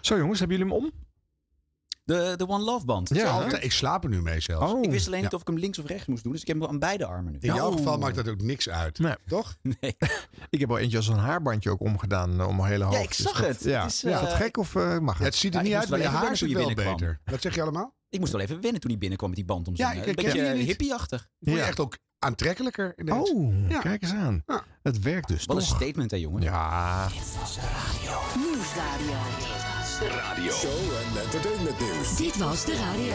Zo jongens, hebben jullie hem om? De, de One Love Band. Ja, Zo. hè? Ik slaap er nu mee zelfs. Oh. Ik wist alleen niet Ja. of ik hem links of rechts moest doen, dus ik heb hem aan beide armen nu. In jouw Oh. geval maakt dat ook niks uit. Nee. Toch? Nee. Ik heb wel eentje als een haarbandje ook omgedaan eh, om mijn hele hoofd. Ja, dus ik zag dat- het. Ja. Het is, Is, eh, dat gek of eh, mag Ja, het? het ziet Ja, er ik niet moest wel uit, maar je even haar wennen zit toen je wel binnenkwam. beter. Wat zeg je allemaal? Ik moest wel even wennen toen hij binnenkwam met die band om Ja, zijn. eh, ik een herken beetje die niet. hippieachtig. Vond je Ja. echt ook aantrekkelijker ineens? Oh, Ja. kijk eens aan. Ja. Het werkt dus Wat een toch? statement hè jongen. Ja, Nieuwsradio. Show en entertainment nieuws. Dit was de radio.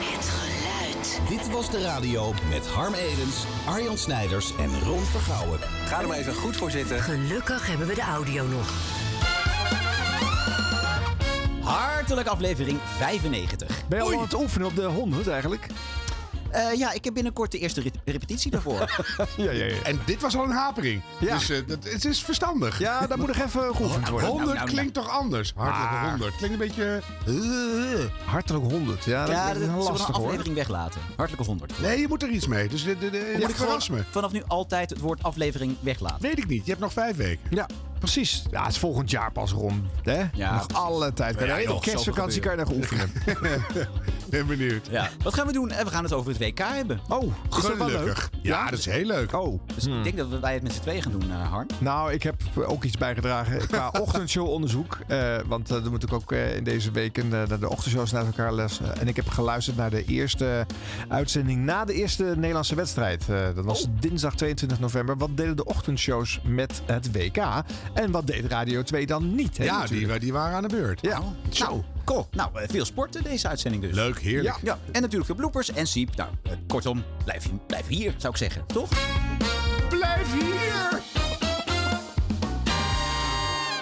Het geluid. Dit was de radio met Harm Edens, Arjan Snijders en Ron Vergouwen. Ga er maar even goed voor zitten. Gelukkig hebben we de audio nog. Hartelijk aflevering 95. ben je al aan het oefenen op de 100 eigenlijk? Eh, ja, ik heb binnenkort de eerste re- repetitie daarvoor. Ja, ja, ja. En dit was al een hapering. Ja. Dus eh, dat, het is verstandig. Ja, daar moet nog even geoefend worden. 100 nou, klinkt toch anders? Hartelijke Maar- 100. Klinkt een beetje... eh. Hartelijk 100. Ja, dat ja, is dat zullen wel we een lastig hoor. aflevering weglaten. Hartelijke 100. Nee, je moet er iets mee. Dus de, de, de, Moet ik ik gewoon verras me. vanaf nu altijd het woord aflevering weglaten? Weet ik niet. Je hebt nog vijf weken. Ja, precies. Ja, het is volgend jaar pas rond. Hè? Ja, Nog precies. alle tijd. Bij Ja, de hele joh, kerstvakantie kan je nog oefenen. Ben benieuwd. Ja. Wat gaan we doen? Eh, We gaan het over het WK hebben. Oh, is dat wel leuk? Gelukkig. Ja, dat is heel leuk. Oh, Dus ik denk dat wij het met z'n tweeën gaan doen, eh, Harm. nou, ik heb ook iets bijgedragen qua ochtendshow-onderzoek. Eh, want eh, er moet ik ook eh, in deze weken eh, naar de ochtendshows naar elkaar les. eh, en ik heb geluisterd naar de eerste uitzending na de eerste Nederlandse wedstrijd. Eh, dat Oh. was dinsdag 22 november. Wat deden de ochtendshows met het WK? En wat deed Radio 2 dan niet? Hè, ja, natuurlijk. die, die waren aan de beurt. Oh. Ja. Nou, cool. Nou, eh, veel sporten deze uitzending dus. Leuk, heerlijk. Ja. Ja, en natuurlijk veel bloopers en siep. Nou, eh, kortom, blijf, je- blijf hier, zou ik zeggen. Toch? Blijf hier!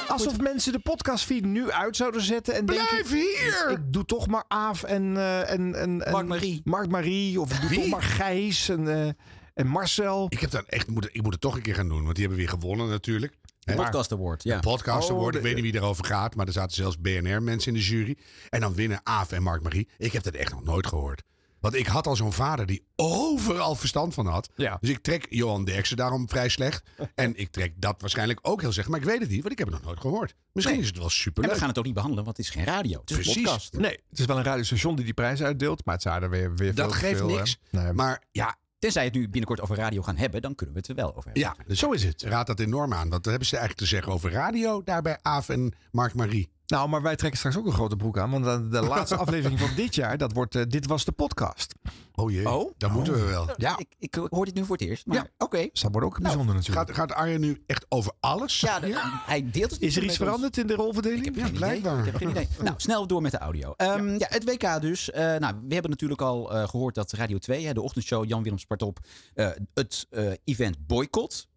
Alsof mensen de podcastfeed nu uit zouden zetten en Blijf denken... hier! Ik doe toch maar Aaf en... eh, en, en, en Mark Marie. Mark Marie. Of ik doe Wie? toch maar Gijs en, eh, en Marcel. Ik, heb dan echt, moet, ik moet het toch een keer gaan doen, want die hebben weer gewonnen natuurlijk. Hè? Podcast Award, ja. Podcast Oh, Award, de- ik weet niet wie daarover gaat, maar er zaten zelfs BNR-mensen in de jury. En dan winnen Aaf en Mark Marie. Ik heb dat echt nog nooit gehoord. Want ik had al zo'n vader die overal verstand van had. Ja. Dus ik trek Johan Derksen daarom vrij slecht. En ik trek dat waarschijnlijk ook heel slecht. Maar ik weet het niet, want ik heb het nog nooit gehoord. Misschien is het wel En superleuk. we gaan het ook niet behandelen, want het is geen radio. Het is een Precies. podcast. Nee, het is wel een radiostation die die prijs uitdeelt. Maar het zou er weer, weer Dat veel- geeft veel, eh, niks. nee. Maar ja, Tenzij we het nu binnenkort over radio gaan hebben, dan kunnen we het er wel over hebben. ja dus zo is het. Raad dat enorm aan. Wat hebben ze eigenlijk te zeggen over radio daar bij Aaf en Mark Marie? Nou, maar wij trekken straks ook een grote broek aan. Want de, de laatste aflevering van dit jaar, dat wordt eh, Dit Was De Podcast. Oh jee, Oh. dat moeten we wel. Ja. Ik, ik hoor dit nu voor het eerst, maar Ja. oké. Dus dat wordt ook bijzonder natuurlijk. Nou, Gaat, gaat Arjen nu echt over alles? Ja, de- hij deelt het niet is er met iets ons. veranderd in de rolverdeling? Ja, blijkbaar. Ik heb geen idee. Nou, snel door met de audio. Ehm, ja. het WK dus. Eh, nou, we hebben natuurlijk al eh, gehoord dat Radio 2, hè, de ochtendshow Jan Willem Spartop, eh, het eh, event boycott.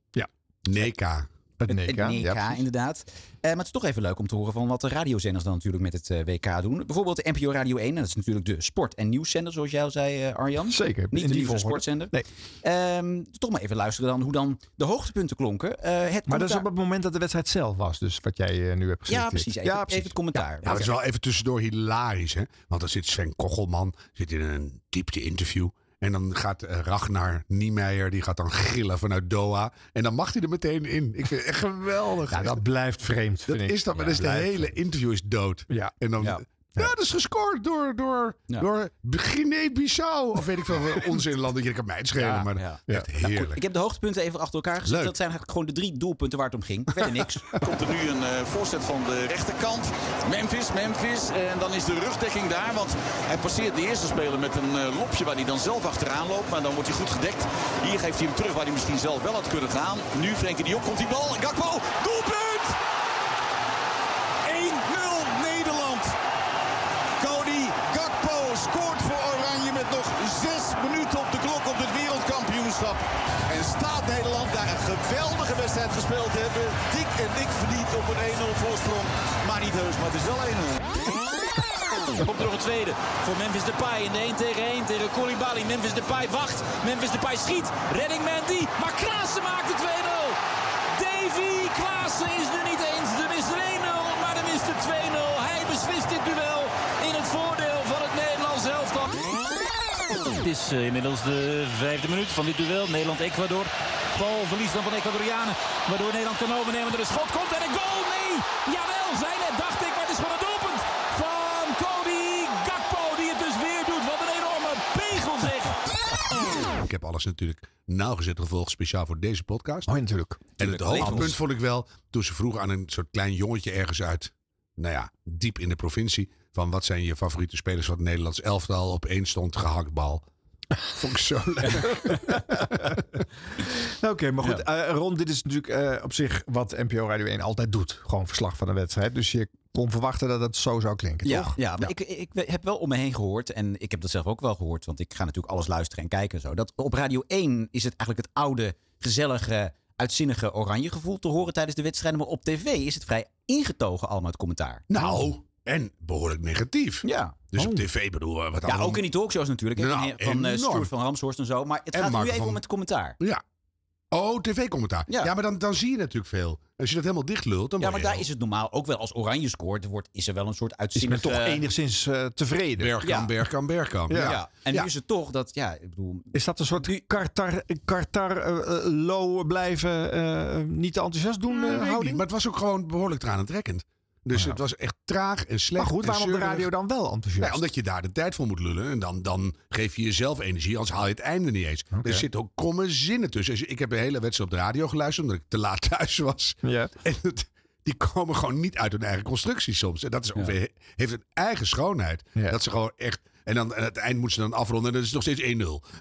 Neka. E Het NECA. het NK, ja. inderdaad. Eh, maar het is toch even leuk om te horen van wat de radiozenders dan natuurlijk met het eh, WK doen. Bijvoorbeeld de NPO Radio 1, dat is natuurlijk de sport- en nieuwszender, zoals jij al zei, eh, Arjan. Zeker, in Niet de die nieuws- en volgorde. sportzender. Nee. Ehm, toch maar even luisteren dan hoe dan de hoogtepunten klonken. Eh, het Maar dat is commentaar- op het moment dat de wedstrijd zelf was. Dus wat jij eh, nu hebt gezien. Ja, precies. Even, Ja, even het commentaar. Ja, dat is wel even tussendoor hilarisch, hè? Want dan zit Sven Kochelman zit in een diepte-interview. En dan gaat eh, Ragnar Niemeyer, die gaat dan gillen vanuit Doha. En dan mag hij er meteen in. Ik vind het echt geweldig. Ja, dat blijft vreemd, Dat vind ik. is dan, Ja, maar dus de blijft hele interview is dood. Ja. En dan, Ja. ja. dat is gescoord door, door, Ja. door Guinea-Bissau. Of weet ik veel, wel, onzinland. Dat je kan mij het schelen, Ja, maar ja. echt Goed, heerlijk. ik heb de hoogtepunten even achter elkaar gezet. Leuk. Dat zijn eigenlijk gewoon de drie doelpunten waar het om ging. Verder niks. Komt er nu een eh, voorzet van de rechterkant. Memphis, Memphis. En dan is de rugdekking daar. Want hij passeert de eerste speler met een eh, lopje waar hij dan zelf achteraan loopt. Maar dan wordt hij goed gedekt. Hier geeft hij hem terug waar hij misschien zelf wel had kunnen gaan. Nu Frenkie de Jong komt die bal. Gakpo, doelpunt! 1-0 Nederland. Cody Gakpo scoort voor Oranje met nog zes minuten op de klok op het wereldkampioenschap. En staat Nederland daar een geweldige wedstrijd gespeeld te hebben. Dik en dik verdiend op een 1-0 voorsprong. Maar niet heus, maar het is wel 1-0. Er komt nog een tweede voor Memphis Depay in de 1 tegen 1 tegen Koulibaly. Memphis Depay wacht, Memphis Depay schiet. Redding Mandy, maar Klaassen maakt de 2-0. Davy Klaassen is er niet eens. Er is er 1-0, maar dan is er 2-0. Hij beslist dit duel in het voordeel van het Nederlands elftal. Het is eh, inmiddels de vijfde minuut van dit duel. Nederland-Ecuador. Bal verlies dan van Ecuadorianen. Waardoor Nederland kan overnemen. Er een schot komt en een goal. Nee! Jawel, zijn het, dacht ik. Maar het is gewoon een doel. dus alles natuurlijk nauwgezet gevolgd, speciaal voor deze podcast. Oh, ja, natuurlijk. en het hoogtepunt vond ik wel toen ze vroegen aan een soort klein jongetje ergens uit, nou ja, diep in de provincie, van wat zijn je favoriete spelers van het Nederlands elftal? Op één stond gehaktbal. Vond ik zo leuk. Oké, maar goed. eh, Ron, dit is natuurlijk eh, op zich wat NPO Radio 1 altijd doet. Gewoon verslag van een wedstrijd. Dus je kon verwachten dat het zo zou klinken, Ja, toch? ja maar Ik, ik heb wel om me heen gehoord. En ik heb dat zelf ook wel gehoord. Want ik ga natuurlijk alles luisteren en kijken. en Zo. Dat op Radio 1 is het eigenlijk het oude, gezellige, uitzinnige oranje gevoel te horen tijdens de wedstrijden. Maar op tv is het vrij ingetogen allemaal het commentaar. Nou, en behoorlijk negatief. Ja. Oh. Dus op tv bedoel eh, wat Ja, allemaal- ook in die talkshows natuurlijk. hè, Nou, van eh enorm. Stuart van Ramshorst en zo. Maar het En gaat nu Marco even van- om het commentaar. Ja. Oh, tv-commentaar. Ja. Ja. maar dan, dan zie je natuurlijk veel. Als je dat helemaal dicht lult, dan Ja, word maar je daar heel- is het normaal ook wel als oranje scoort. Wordt, is er wel een soort Is men uitzinnige... toch enigszins eh, tevreden? Bergkamp, Ja. Bergkamp, Bergkamp. Ja. Ja. En Ja. nu is het toch dat... Ja, ik bedoel... Is dat een soort Qatar, Qatar eh, eh, low blijven, eh, niet te enthousiast doen eh, Weet ik niet, houding? maar het was ook gewoon behoorlijk tranentrekkend. Dus het was echt traag en slecht. Nou Maar goed, en waarom op de zeurig. radio dan wel enthousiast? Nee, omdat je daar de tijd voor moet lullen. En dan, dan geef je jezelf energie, anders haal je het einde niet eens. Er zitten ook komme zinnen tussen. Dus ik heb een hele wedstrijd op de radio geluisterd, omdat ik te laat thuis was. Ja. En het- die komen gewoon niet uit hun eigen constructie soms. En dat is ook weer, heeft een eigen schoonheid. Ja. Dat ze gewoon echt... En dan aan het eind moeten ze dan afronden. En dat is nog steeds 1-0.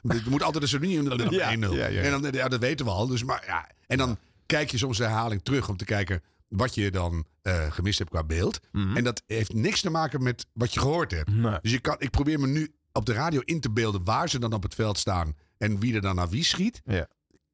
Het moet altijd een soort niet 1-0. Ja, ja, ja. En dan, ja, dat weten we al. Dus, maar, ja. En dan kijk je soms de herhaling terug om te kijken wat je dan eh, gemist hebt qua beeld. En dat heeft niks te maken met wat je gehoord hebt. Nee. Dus je kan, ik probeer me nu op de radio in te beelden waar ze dan op het veld staan. En wie er dan naar wie schiet Ja.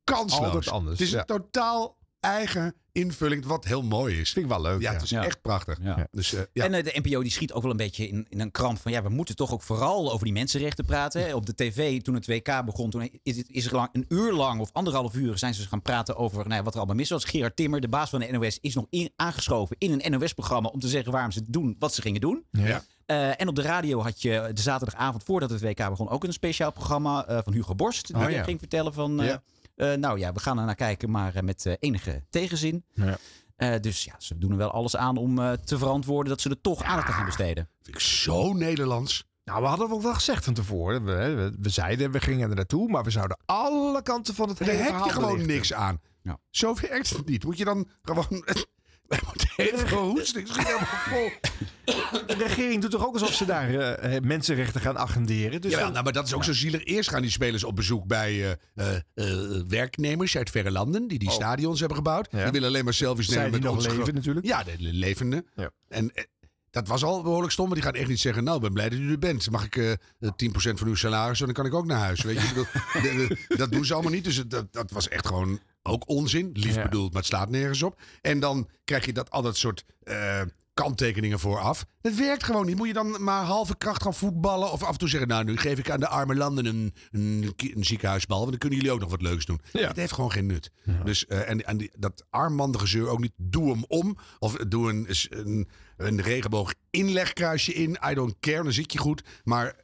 kansloos. Altijd anders, Het is ja. een totaal eigen invulling, wat heel mooi is. Vind ik wel leuk. Ja, Ja, het is Ja. echt prachtig. Ja. Dus, eh, ja. En eh, de NPO die schiet ook wel een beetje in, in een kramp van... ja, we moeten toch ook vooral over die mensenrechten praten. hè. Op de tv, toen het WK begon, toen is, het- is er lang, een uur lang of anderhalf uur... zijn ze gaan praten over nou ja, wat er allemaal mis was. Gerard Timmer, de baas van de NOS, is nog in- aangeschoven in een NOS-programma... om te zeggen waarom ze doen wat ze gingen doen. Ja. Eh, en op de radio had je de zaterdagavond voordat het WK begon... ook een speciaal programma eh, van Hugo Borst. Die Oh, eh, ja. ging vertellen van... eh, Ja. eh, nou ja, we gaan er naar kijken, maar eh, met eh, enige tegenzin. Ja. Eh, dus ja, ze doen er wel alles aan om eh, te verantwoorden dat ze er toch aandacht aan gaan besteden. Vind ik zo Nederlands. Nou, we hadden ook wel gezegd van tevoren. We, we, we zeiden, we gingen er naartoe, maar we zouden alle kanten van het Daar hele heb verhaal je gewoon belichten. niks aan. Ja. Zo werkt het niet. Moet je dan gewoon... Hij moet heel veel hoesten. Ik schiet helemaal vol. De regering doet toch ook alsof ze daar eh, mensenrechten gaan agenderen. Dus Jawel, dan- nou, maar dat is ook zo zielig. Eerst gaan die spelers op bezoek bij eh, eh, eh, werknemers uit verre landen... die die stadions hebben gebouwd. Ja. Oh. Die willen alleen maar selfies Zij nemen die met nog ons leven gro- natuurlijk. Ja, de de levende. Ja. En eh, dat was al behoorlijk stom. Maar die gaan echt niet zeggen... nou, ik ben blij dat u er bent. Mag ik eh, eh, 10% van uw salaris? Dan kan ik ook naar huis. Weet je? Ik bedoel, de- de- dat doen ze allemaal niet. Dus het- dat, dat was echt gewoon ook onzin. Lief Ja. bedoeld, maar het slaat nergens op. En dan krijg je dat, al dat soort... eh, kanttekeningen vooraf. Dat werkt gewoon niet. Moet je dan maar halve kracht gaan voetballen of af en toe zeggen... nou, nu geef ik aan de arme landen een, een, ki- een ziekenhuisbal... want dan kunnen jullie ook nog wat leuks doen. Ja. Het heeft gewoon geen nut. Dus, eh, en en die, dat armmandige zeur ook niet. Doe hem om of doe een, een, een regenboog inlegkruisje in. I don't care, dan zit je goed. Maar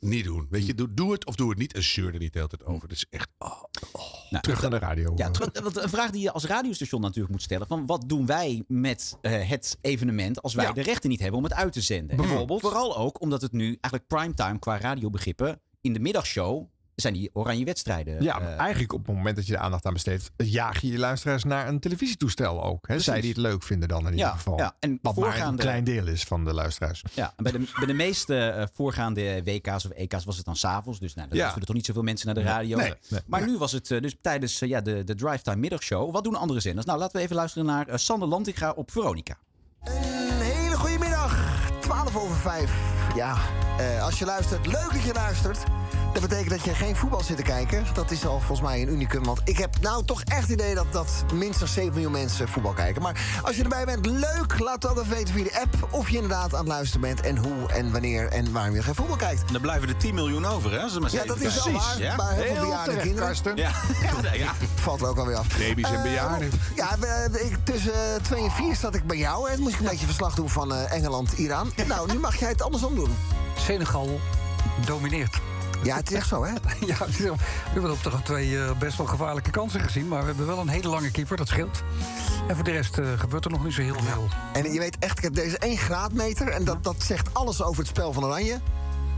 niet doen. Weet je, doe, doe het of doe het niet. En zeur er niet de hele tijd over. Dat is echt... oh. terug naar de radio. Nou, Ja, terug- want een vraag die je als radiostation natuurlijk moet stellen. Van wat doen wij met eh, het evenement als wij Ja. de rechten niet hebben om het uit te zenden? Bijvoorbeeld. Vooral ook omdat het nu eigenlijk primetime qua radiobegrippen in de middagshow zijn die oranje wedstrijden. Ja, eh, maar eigenlijk op het moment dat je de aandacht aan besteedt, jaag je je luisteraars naar een televisietoestel ook. Hè? Zij die het leuk vinden dan in ieder Ja, geval. ja, en Wat maar een voorgaande- klein deel is van de luisteraars. Ja, en bij de, bij de meeste eh, voorgaande WK's of EK's was het dan s'avonds. Dus nou, dan Ja. luisterden toch niet zoveel mensen naar de radio. Nee, nee. maar nu was het eh, dus tijdens eh, ja, de, de Drive Time middagshow. Wat doen andere zenders? Nou, laten we even luisteren naar eh, Sander Lantinga op Veronica. Een hele goede middag. 12 over 5. Ja, eh, als je luistert, leuk dat je luistert. Dat betekent dat je geen voetbal zit te kijken. Dat is al volgens mij een unicum. Want ik heb nou toch echt het idee dat, dat minstens 7 miljoen mensen voetbal kijken. Maar als je erbij bent, leuk. Laat dat even weten via de app. Of je inderdaad aan het luisteren bent. En hoe en wanneer en waarom je geen voetbal kijkt. Dan blijven er 10 miljoen over, hè? als ze maar Ja, zeven dat is wel kijken. waar. Maar heel veel bejaarde terecht, kinderen. Karsten. Ja, ja, ja. Valt er ook alweer af. Baby's en Eh, bejaarden. Ja, we- ik, tussen 2 en 4 zat ik bij jou. En toen moest ik een beetje verslag doen van eh, Engeland, Iran. Nou, nu mag jij het andersom doen. Senegal domineert. Ja, het is echt zo, hè? Ja, het is wel- we hebben op toch twee eh, best wel gevaarlijke kansen gezien. Maar we hebben wel een hele lange keeper, dat scheelt. En voor de rest eh, gebeurt er nog niet zo heel veel. En je weet echt, ik heb deze 1 graadmeter. En dat, dat zegt alles over het spel van Oranje.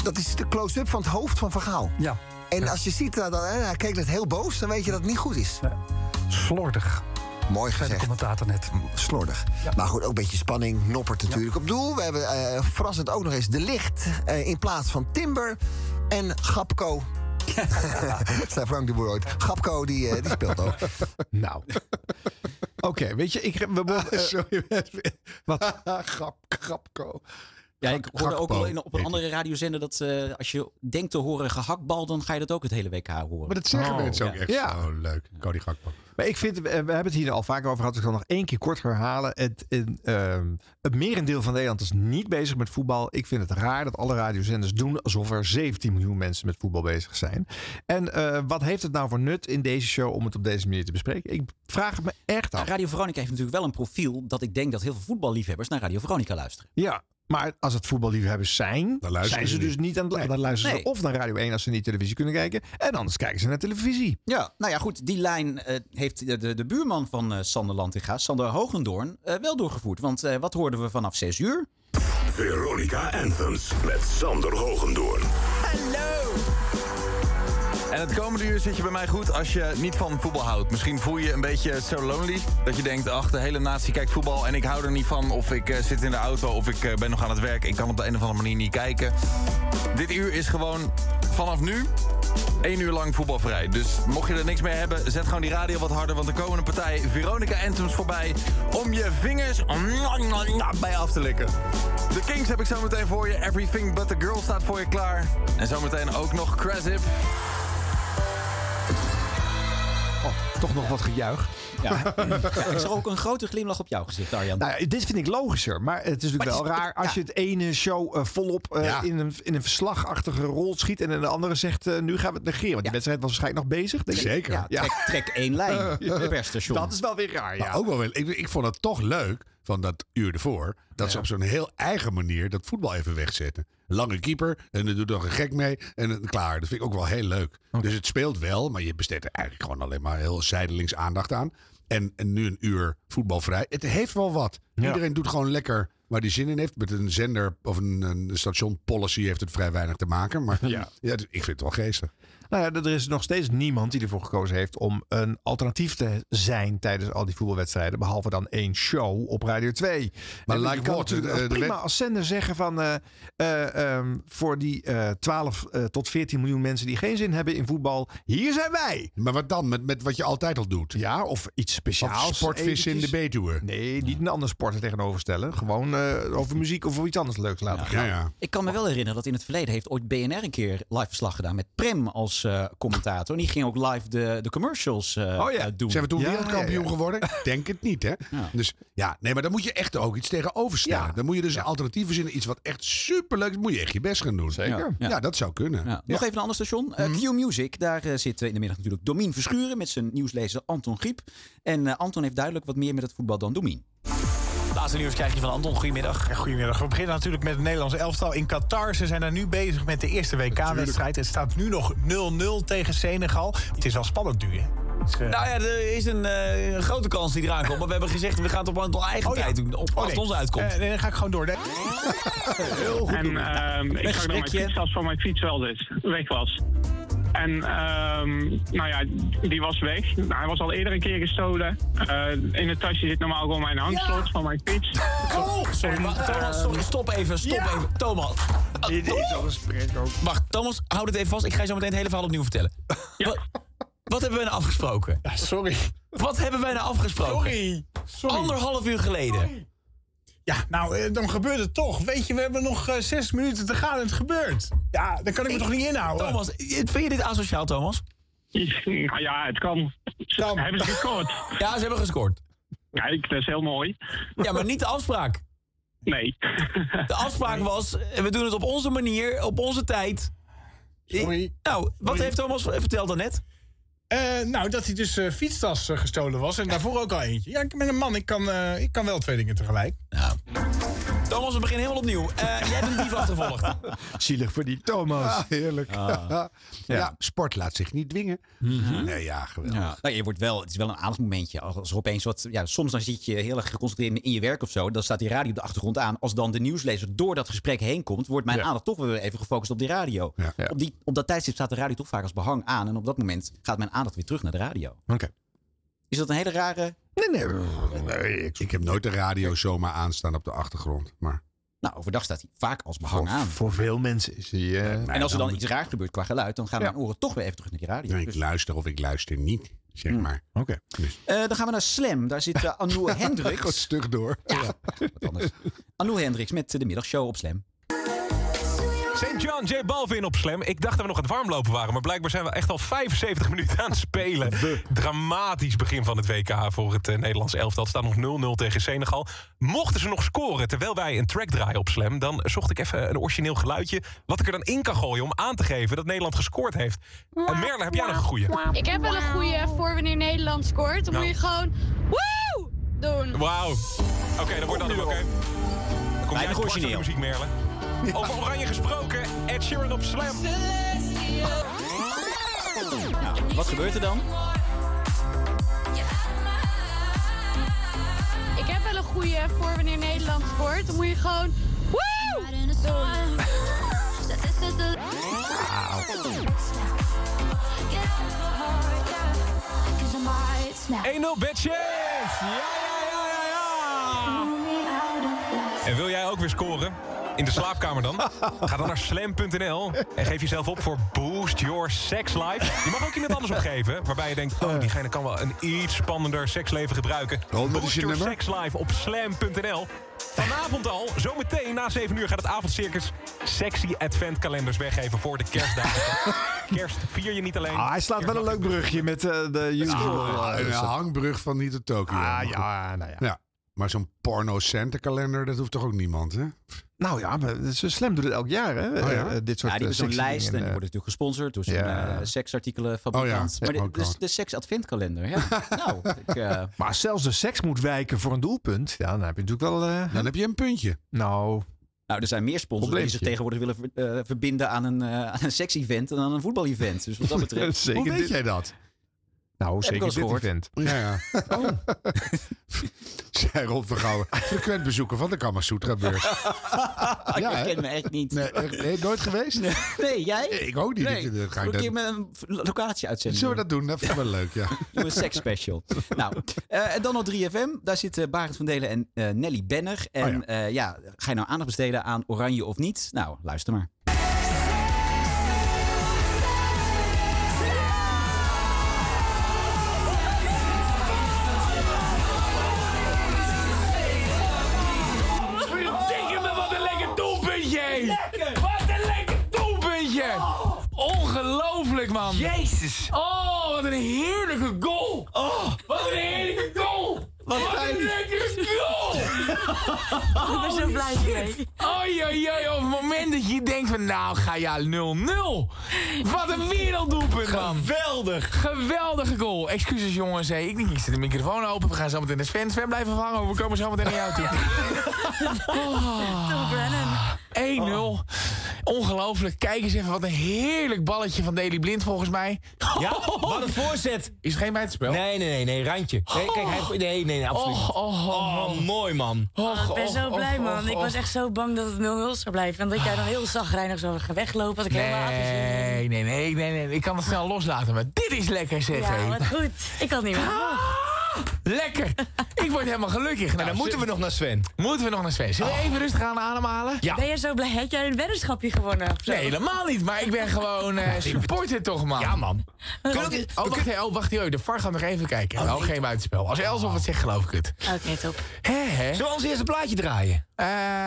Dat is de close-up van het hoofd van Vergaal. Ja. En als je ziet, dat, dat- hij kijkt net heel boos, dan weet je dat het niet goed is. Slordig. Mooi Zei de gezegd. commentator net. Slordig. Maar goed, ook een beetje spanning. Noppert natuurlijk op doel. We hebben eh, verrassend ook nog eens De Licht eh, in plaats van Timber en Gapco. Zei Frank de Boer ooit. Gapco, die, eh, die speelt ook. Nou. Oké, weet je, ik... We, Ah, sorry. Wat? grap, grapko. Ja, ik hoorde ook Gakpo, al in, op een heet andere radiozender dat eh, als je denkt te horen gehaktbal, dan ga je dat ook het hele WK horen. Maar dat zeggen mensen ook ja. echt. Ja. Oh, leuk. Cody Gakpo. Maar ik vind, eh, we hebben het hier al vaker over gehad. dus Ik zal nog één keer kort herhalen. Het, in, ehm, het merendeel van Nederland is niet bezig met voetbal. Ik vind het raar dat alle radiozenders doen alsof er 17 miljoen mensen met voetbal bezig zijn. En eh, wat heeft het nou voor nut in deze show om het op deze manier te bespreken? Ik vraag het me echt af. Radio Veronica heeft natuurlijk wel een profiel dat ik denk dat heel veel voetballiefhebbers naar Radio Veronica luisteren. Ja, maar als het voetballiefhebbers zijn, Dan luisteren zijn ze ze dus niet aan het lu- Dan luisteren ze Nee. of naar Radio 1 als ze niet televisie kunnen kijken. En anders kijken ze naar televisie. Ja, nou ja, goed. Die lijn eh, heeft de, de, de buurman van eh, Sander Lantinga, Sander Hogendoorn, eh, wel doorgevoerd. Want eh, wat hoorden we vanaf 6 uur? Veronica Anthems met Sander Hogendoorn. En het komende uur zit je bij mij goed als je niet van voetbal houdt. Misschien voel je een beetje so lonely. Dat je denkt, ach, de hele natie kijkt voetbal en ik hou er niet van. Of ik eh, zit in de auto of ik eh, ben nog aan het werk. Ik kan op de een of andere manier niet kijken. Dit uur is gewoon vanaf nu één uur lang voetbalvrij. Dus mocht je er niks mee hebben, zet gewoon die radio wat harder. Want er komen een partij Veronica Anthems voorbij om je vingers bij af te likken. De Kings heb ik zo meteen voor je. Everything But The Girl staat voor je klaar. En zometeen ook nog Krasip. Toch nog wat gejuich. Ja. ja, ik zag ook een grote glimlach op jouw gezicht, Arjan. Nou, ja, dit vind ik logischer, maar het is natuurlijk Maar het wel is- raar als ja. je het ene show eh, volop eh, Ja. in, een, in een verslagachtige rol schiet en de andere zegt eh, nu gaan we het negeren. Want die Ja. wedstrijd was waarschijnlijk nog bezig. denk ik. Zeker. ja, Ja. trek, trek één lijn per station. Dat is wel weer raar. Maar Ja. ook wel wel. Ik, ik vond het toch leuk van dat uur ervoor. Dat ze op zo'n heel eigen manier dat voetbal even wegzetten. Lange keeper en er doet nog een gek mee. En dan klaar. Dat vind ik ook wel heel leuk. Dus het speelt wel, maar je besteedt er eigenlijk gewoon alleen maar heel zijdelings aandacht aan. En, en nu een uur voetbalvrij. Het heeft wel wat. Iedereen doet gewoon lekker waar die zin in heeft. Met een zender of een, een station policy heeft het vrij weinig te maken. Maar ja. dus ik vind het wel geestig. Nou ja, er is nog steeds niemand die ervoor gekozen heeft om een alternatief te zijn tijdens al die voetbalwedstrijden. Behalve dan één show op Radio 2. Maar En like je kan what? natuurlijk Eh, ook de prima wet- als zender zeggen van eh, eh, ehm, voor die eh 12 eh, tot 14 miljoen mensen die geen zin hebben in voetbal. Hier zijn wij. Maar wat dan? Met, met wat je altijd al doet. Ja, of iets Of speciaals. sportvis in de eventjes. Betuwe. Nee, niet een ander sport er tegenover stellen. Gewoon eh, over muziek of over iets anders leuks laten gaan. Ja, ja. Ik kan me wel herinneren dat in het verleden heeft ooit BNR een keer live verslag gedaan met Prem als eh, commentator. En die ging ook live de, de commercials eh, Oh ja. eh, doen. Zijn we toen Ja, wereldkampioen ja, ja. geworden? Denk het niet, hè? Dus ja, nee, maar dan moet je echt ook iets tegenover staan. Ja. Dan moet je dus een alternatief verzinnen. Iets wat echt superleuk is. Moet je echt je best gaan doen. Zeker. Ja, Ja. Ja, dat zou kunnen. Ja. Nog even een ander station. Eh, Mhm. Q Music. Daar eh, zit eh, in de middag natuurlijk Domien Verschuren met zijn nieuwslezer Anton Griep. En eh, Anton heeft duidelijk wat meer met het voetbal dan Domien. Laatste nieuws krijg je van Anton. Goedemiddag. Goedemiddag. We beginnen natuurlijk met het Nederlands elftal Oh, in Qatar. Ze zijn daar nu bezig met de eerste WK-wedstrijd. Het staat nu nog 0-0 tegen Senegal. Het is wel spannend nu, hè? Dus, eh, Nou ja, er is een eh, grote kans die eraan komt. Maar we hebben gezegd, we gaan het op een eigen Oh ja. tijd doen. Op, oh, als het nee. ons uitkomt. Eh, nee, dan ga ik gewoon door. Nee. En ehm, ik zag dat mijn gesprekje. fietstas van mijn fiets wel dus weg was. En ehm, nou ja, die was weg. Nou, Hij was al eerder een keer gestolen. Eh, in het tasje zit normaal gewoon mijn hangslot van mijn fiets. Oh, sorry, maar, Thomas, sorry, stop even, stop even. Thomas. Dit is al ook. Wacht, Thomas, houd het even vast. Ik ga je zo meteen het hele verhaal opnieuw vertellen. Wat, wat hebben wij nou afgesproken? Sorry. Wat hebben wij nou afgesproken? Sorry. Sorry. Anderhalf uur geleden. Ja, nou, eh, dan gebeurt het toch. Weet je, we hebben nog eh, zes minuten te gaan en het gebeurt. Ja, dan kan ik me toch niet inhouden. Thomas, vind je dit asociaal, Thomas? nou ja, het kan. Ze Kan. hebben ze gescoord. Ja, ze hebben gescoord. Kijk, dat is heel mooi. Ja, maar niet de afspraak. Nee. De afspraak was, eh, we doen het op onze manier, op onze tijd. Eh, Sorry. Nou, wat Sorry. heeft Thomas verteld daarnet? Eh, nou, dat hij dus eh, fietstas eh, gestolen was en daarvoor ook al eentje. Ja, ik ben een man, ik kan, eh, ik kan wel twee dingen tegelijk. Thomas, we beginnen helemaal opnieuw. Eh, jij bent dief achtervolgd. Zielig voor die Thomas. Ah, heerlijk. Ah. ja. Ja. sport laat zich niet dwingen. Mhm. Nee, ja, geweldig. Ja. Nou, je wordt wel, het is wel een aandachtsmomentje. Als er opeens wat, ja, soms dan zit je heel erg geconcentreerd in je werk of zo. Dan staat die radio op de achtergrond aan. Als dan de nieuwslezer door dat gesprek heen komt, wordt mijn aandacht toch weer even gefocust op die radio. Op, die, op dat tijdstip staat de radio toch vaak als behang aan. En op dat moment gaat mijn aandacht weer terug naar de radio. Oké. Is dat een hele rare. Nee, nee. ik... heb nooit de radio zomaar aanstaan op de achtergrond. Maar... Nou, overdag staat hij vaak als behang aan. Voor veel mensen is eh, hij... En als er nou. dan iets raars gebeurt qua geluid, dan gaan Ja. mijn oren toch weer even terug naar die radio. Ik luister of ik luister niet, zeg maar. Oké. Dus- Eh, dan gaan we naar Slam. Daar zit eh, Anouk Hendricks. Gewoon stug door. Ja, wat anders. Anouk Hendricks met eh, de middagshow op Slam. St. John, J Balvin op Slam. Ik dacht dat we nog aan het warmlopen waren, maar blijkbaar zijn we echt al 75 minuten aan het spelen. Dramatisch begin van het WK voor het eh, Nederlands elftal. Het staat nog 0-0 tegen Senegal. Mochten ze nog scoren terwijl wij een track draaien op Slam, dan zocht ik even een origineel geluidje wat ik er dan in kan gooien om aan te geven dat Nederland gescoord heeft. En Merle, heb jij nog een goeie? Ik heb wel een goede voor wanneer Nederland scoort. Dan Nou. moet je gewoon woe doen. Wauw. Oké, dan wordt dat hem oké. Dan kom jij dwars Weinig door de origineel. muziek, Merle. Over Oranje gesproken, Ed Sheeran op Slam. Nou, wat gebeurt er dan? Ik heb wel een goede voor wanneer Nederland scoort. Dan moet je gewoon woe doen. Wauw. 1-0 bitches! Ja, ja, ja, ja, ja! En wil jij ook weer scoren? In de slaapkamer dan? Ga dan naar slam.nl en geef jezelf op voor Boost Your Sex Life. Je mag ook iemand anders opgeven, waarbij je denkt... oh, diegene kan wel een iets spannender seksleven gebruiken. Boost je Your nummer? Sex Life op slam.nl. Vanavond al, zometeen na 7 uur gaat het avondcircus sexy adventkalenders weggeven voor de kerstdagen. Kerst vier je niet alleen. Ah, hij slaat wel een leuk brugje met eh, de YouTube. Ah, een hangbrug van niet tot Tokio. dus Ah, Maar ja, goed. nou ja. Maar zo'n porno-centerkalender, dat hoeft toch ook niemand, hè? Nou ja, maar ze slam doet het elk jaar, hè? Oh ja? Eh, dit soort ja, die hebben eh, zo'n sexy lijst en die dingen. worden natuurlijk gesponsord door zo'n Ja. eh, seksartikelenfabrikant. Oh ja, maar ook de, de, wel. de seksadventkalender, ja. nou, ik, eh, Maar zelfs de seks moet wijken voor een doelpunt. Ja, dan heb je natuurlijk wel... eh, dan heb je een puntje. Oh. Nou... nou, er zijn meer sponsors die zich Probleempje. tegenwoordig willen ver- eh, verbinden aan een, eh aan een seks-event en aan een voetbal-event. Dus wat dat betreft... Zeker Hoe weet dit- jij dat? Nou, Heb ik zeker al eens dit gehoord. event. Ja, ja. Oh. Zij Rob Vergouwen. Frequent bezoeker van de Kamasutra-beurs. ik Ja, hè? ken me echt niet. Nee, echt- nee, nooit geweest? Nee, nee, jij? Ik ook niet. Nee. Ik- dat ga ik Moet ik dan- een eh, locatie uitzenden? Zullen we dat doen? Dat vind ik wel leuk, ja. Doe een seksspecial. nou, eh, en dan nog 3FM. Daar zitten Barend van Delen en eh, Nelly Benner. En Oh eh, ja, ga je nou aandacht besteden aan Oranje of niet? Nou, luister maar. Verdikke me, wat een lekker doelpuntje! Lekker! Wat een lekker doelpuntje! Ongelooflijk, man! Jezus! Oh, wat een heerlijke goal! Oh, wat een heerlijke goal! Wat, een lekkere goal! Ik ben zo blij mee. Oei, oei, oei, op het moment dat je denkt van nou ga je 0-0. Wat een werelddoelpunt man. Geweldig. Geweldige goal. Excuses jongens, hé. ik denk ik zet de microfoon open. We gaan zo meteen naar Sven. Sven blijven vangen, we komen zo meteen naar jou toe. Oh. 1-0. Ongelooflijk. Kijk eens even, wat een heerlijk balletje van Daily Blind volgens mij. Ja, wat een voorzet. Is het geen buitenspel? Nee, nee, nee, nee, randje. Nee, kijk, hij, nee, nee, absoluut. Oh, oh, oh, mooi man. Och, Oh, ik ben zo och, blij, och, man. och, ik och. was echt zo bang dat het 0-0 zou blijven. En dat jij dan heel zagrijnig zou gaan weglopen. Dat ik helemaal afgezien Nee, nee, nee, nee, nee. Ik kan het snel loslaten, maar dit is Ah. lekker, zeg. hé. Ja, wat goed. Ik had niet meer Oh. verwacht. Lekker. Ik word helemaal gelukkig. Nou, dan moeten we nog naar Sven. Moeten we nog naar Sven. Zullen we Oh. even rustig aan ademhalen? Ja. Ben je zo blij? Heb jij een weddenschapje gewonnen? of zo? Nee, helemaal niet. Maar ik ben gewoon eh supporter toch, man. Ja, man. Oh, wacht, hé, oh, wacht. hé, De VAR gaat nog even kijken. Oh, geen buitenspel. Als Elsof het zegt, geloof ik het. Oké, top. Hè, hè? Eh, Zullen we ons eerste plaatje draaien?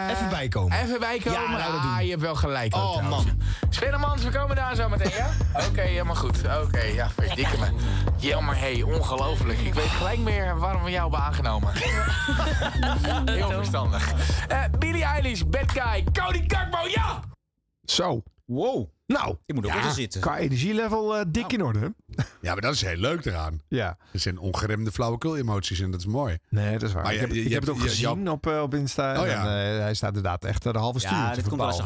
Even bijkomen. Even bijkomen. Ja, nou, dat doen ah, we. je hebt wel gelijk. ook, Oh, trouwens. Svennemans, we komen daar zo meteen, ja? Oké, helemaal goed. Oké, ja, verdikke me. Jammer, hé, hey, ongelooflijk. Ik weet gelijk meer waarom we jou hebben aangenomen. Heel verstandig. Eh, Billie Eilish, Bad Guy, Cody Kakbo, ja! Zo. Wow. Nou, Oh, ik moet ook ja, wel eens zitten. Qua energielevel eh, dik in orde. Ja, maar dat is heel leuk eraan. Ja. Nou. Er zijn ongeremde flauwekul-emoties en dat is mooi. Nee, dat is waar. Maar ik je- heb, je- ik je heb het ook hebt- je- je- gezien op, eh, op Insta. En Oh ja. dan, eh, hij staat inderdaad echt eh, de halve stuur. te verpalen. Ja,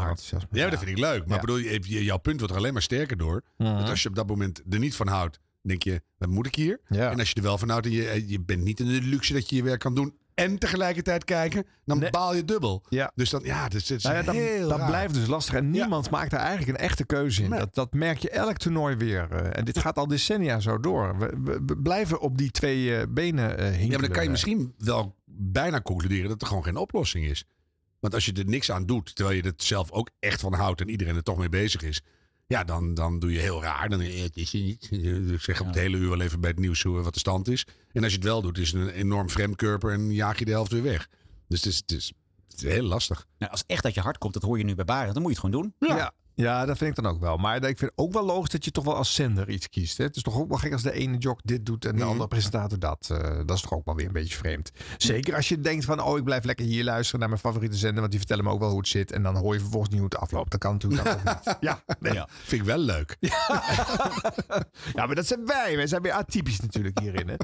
maar dat vind ik leuk. Maar bedoel, je- je- jouw punt wordt er alleen maar sterker door. Mhm. Dat als je op dat moment er niet van houdt, denk je, wat moet ik hier? Ja. En als je er wel van houdt en je, eh, je bent niet in de luxe dat je je werk kan doen en tegelijkertijd kijken, dan baal je dubbel. Dus dan, ja, dus, het is Nou ja, dat, heel dat raar. blijft dus lastig. En niemand maakt daar eigenlijk een echte keuze in. Dat, dat merk je elk toernooi weer. Eh, En dit gaat al decennia zo door. We, we- we blijven op die twee eh, benen eh hinkelen. Ja, maar dan kan je Eh, misschien wel bijna concluderen dat er gewoon geen oplossing is. Want als je er niks aan doet, terwijl je er zelf ook echt van houdt en iedereen er toch mee bezig is. Ja, dan, dan doe je heel raar. Dan, eh, het is er niet. ik zeg op het hele uur wel even bij het nieuws hoe- wat de stand is. En als je het wel doet, is het een enorm fremdkurper en jaag je de helft weer weg. Dus het is, het is, het is heel lastig. Nou, als echt dat je hart komt, dat hoor je nu bij Barend. Dan moet je het gewoon doen. Ja. ja. dat vind ik dan ook wel. Maar ik vind ook wel logisch dat je toch wel als zender iets kiest. Hè? Het is toch ook wel gek als de ene jock dit doet en de andere presentator dat. Eh, dat is toch ook wel weer een beetje vreemd. Zeker als je denkt van, oh, ik blijf lekker hier luisteren naar mijn favoriete zender, want die vertellen me ook wel hoe het zit. En dan hoor je vervolgens niet hoe het afloopt. Dat kan natuurlijk ook niet. Ja, vind ik wel leuk. ja, maar dat zijn wij. Wij zijn weer atypisch natuurlijk hierin. Hè?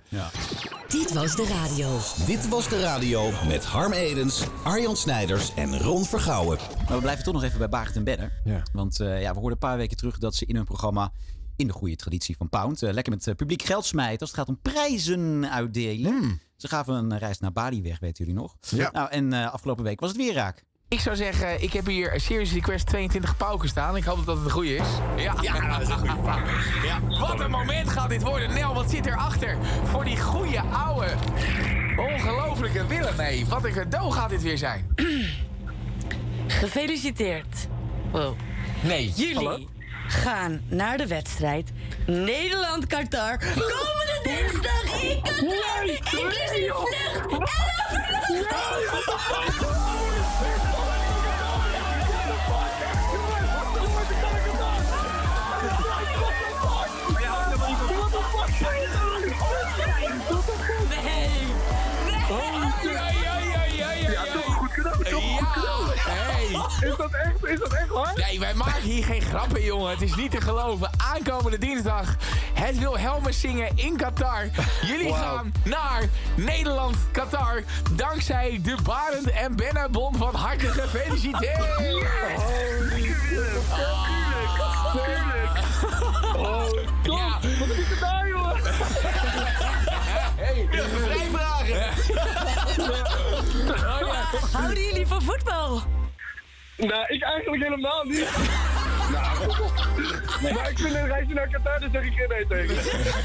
Dit was de radio. Dit was de radio met Harm Edens, Arjan Snijders en Ron Vergouwen. Maar we blijven toch nog even bij Barend en Benner. Want eh, ja, we hoorden een paar weken terug dat ze in hun programma... in de goede traditie van Pound... eh, lekker met eh, publiek geld smijten als het gaat om prijzen uitdelen. Ze gaven een eh, reis naar Bali weg, weten jullie nog? Nou, en eh, afgelopen week was het weer raak. Ik zou zeggen, ik heb hier een Serious Request 22 pauken staan. Ik hoop dat dat een goede is. Ja, ja dat is een goede pauw. Ja. Wat een moment gaat dit worden. Nel, wat zit erachter? Voor die goede ouwe. Ongelofelijke Willem, nee. Wat een cadeau gaat dit weer zijn. Gefeliciteerd. Wow. Nee. Jullie gaan naar de wedstrijd Nederland-Qatar. Komende dinsdag in Qatar. Ik kies die vlucht. Nee. Ja, toch goed cadeau, toch goed cadeau. Hey. Is, dat echt, is dat echt waar? Nee, wij maken hier geen grappen, jongen. Het is niet te geloven. Aankomende dinsdag het Wilhelmus zingen in Qatar. Jullie gaan naar Nederland, Qatar. Dankzij de Barend en Bennabon van harte gefeliciteerd. Oh, Oh, ja. Wat heb je gedaan, jongen? Hey, vrij Houden jullie van voetbal? Nou, ik eigenlijk helemaal niet. nou, kom op. Maar ik vind een reisje naar Qatar, daar zeg ik geen nee tegen.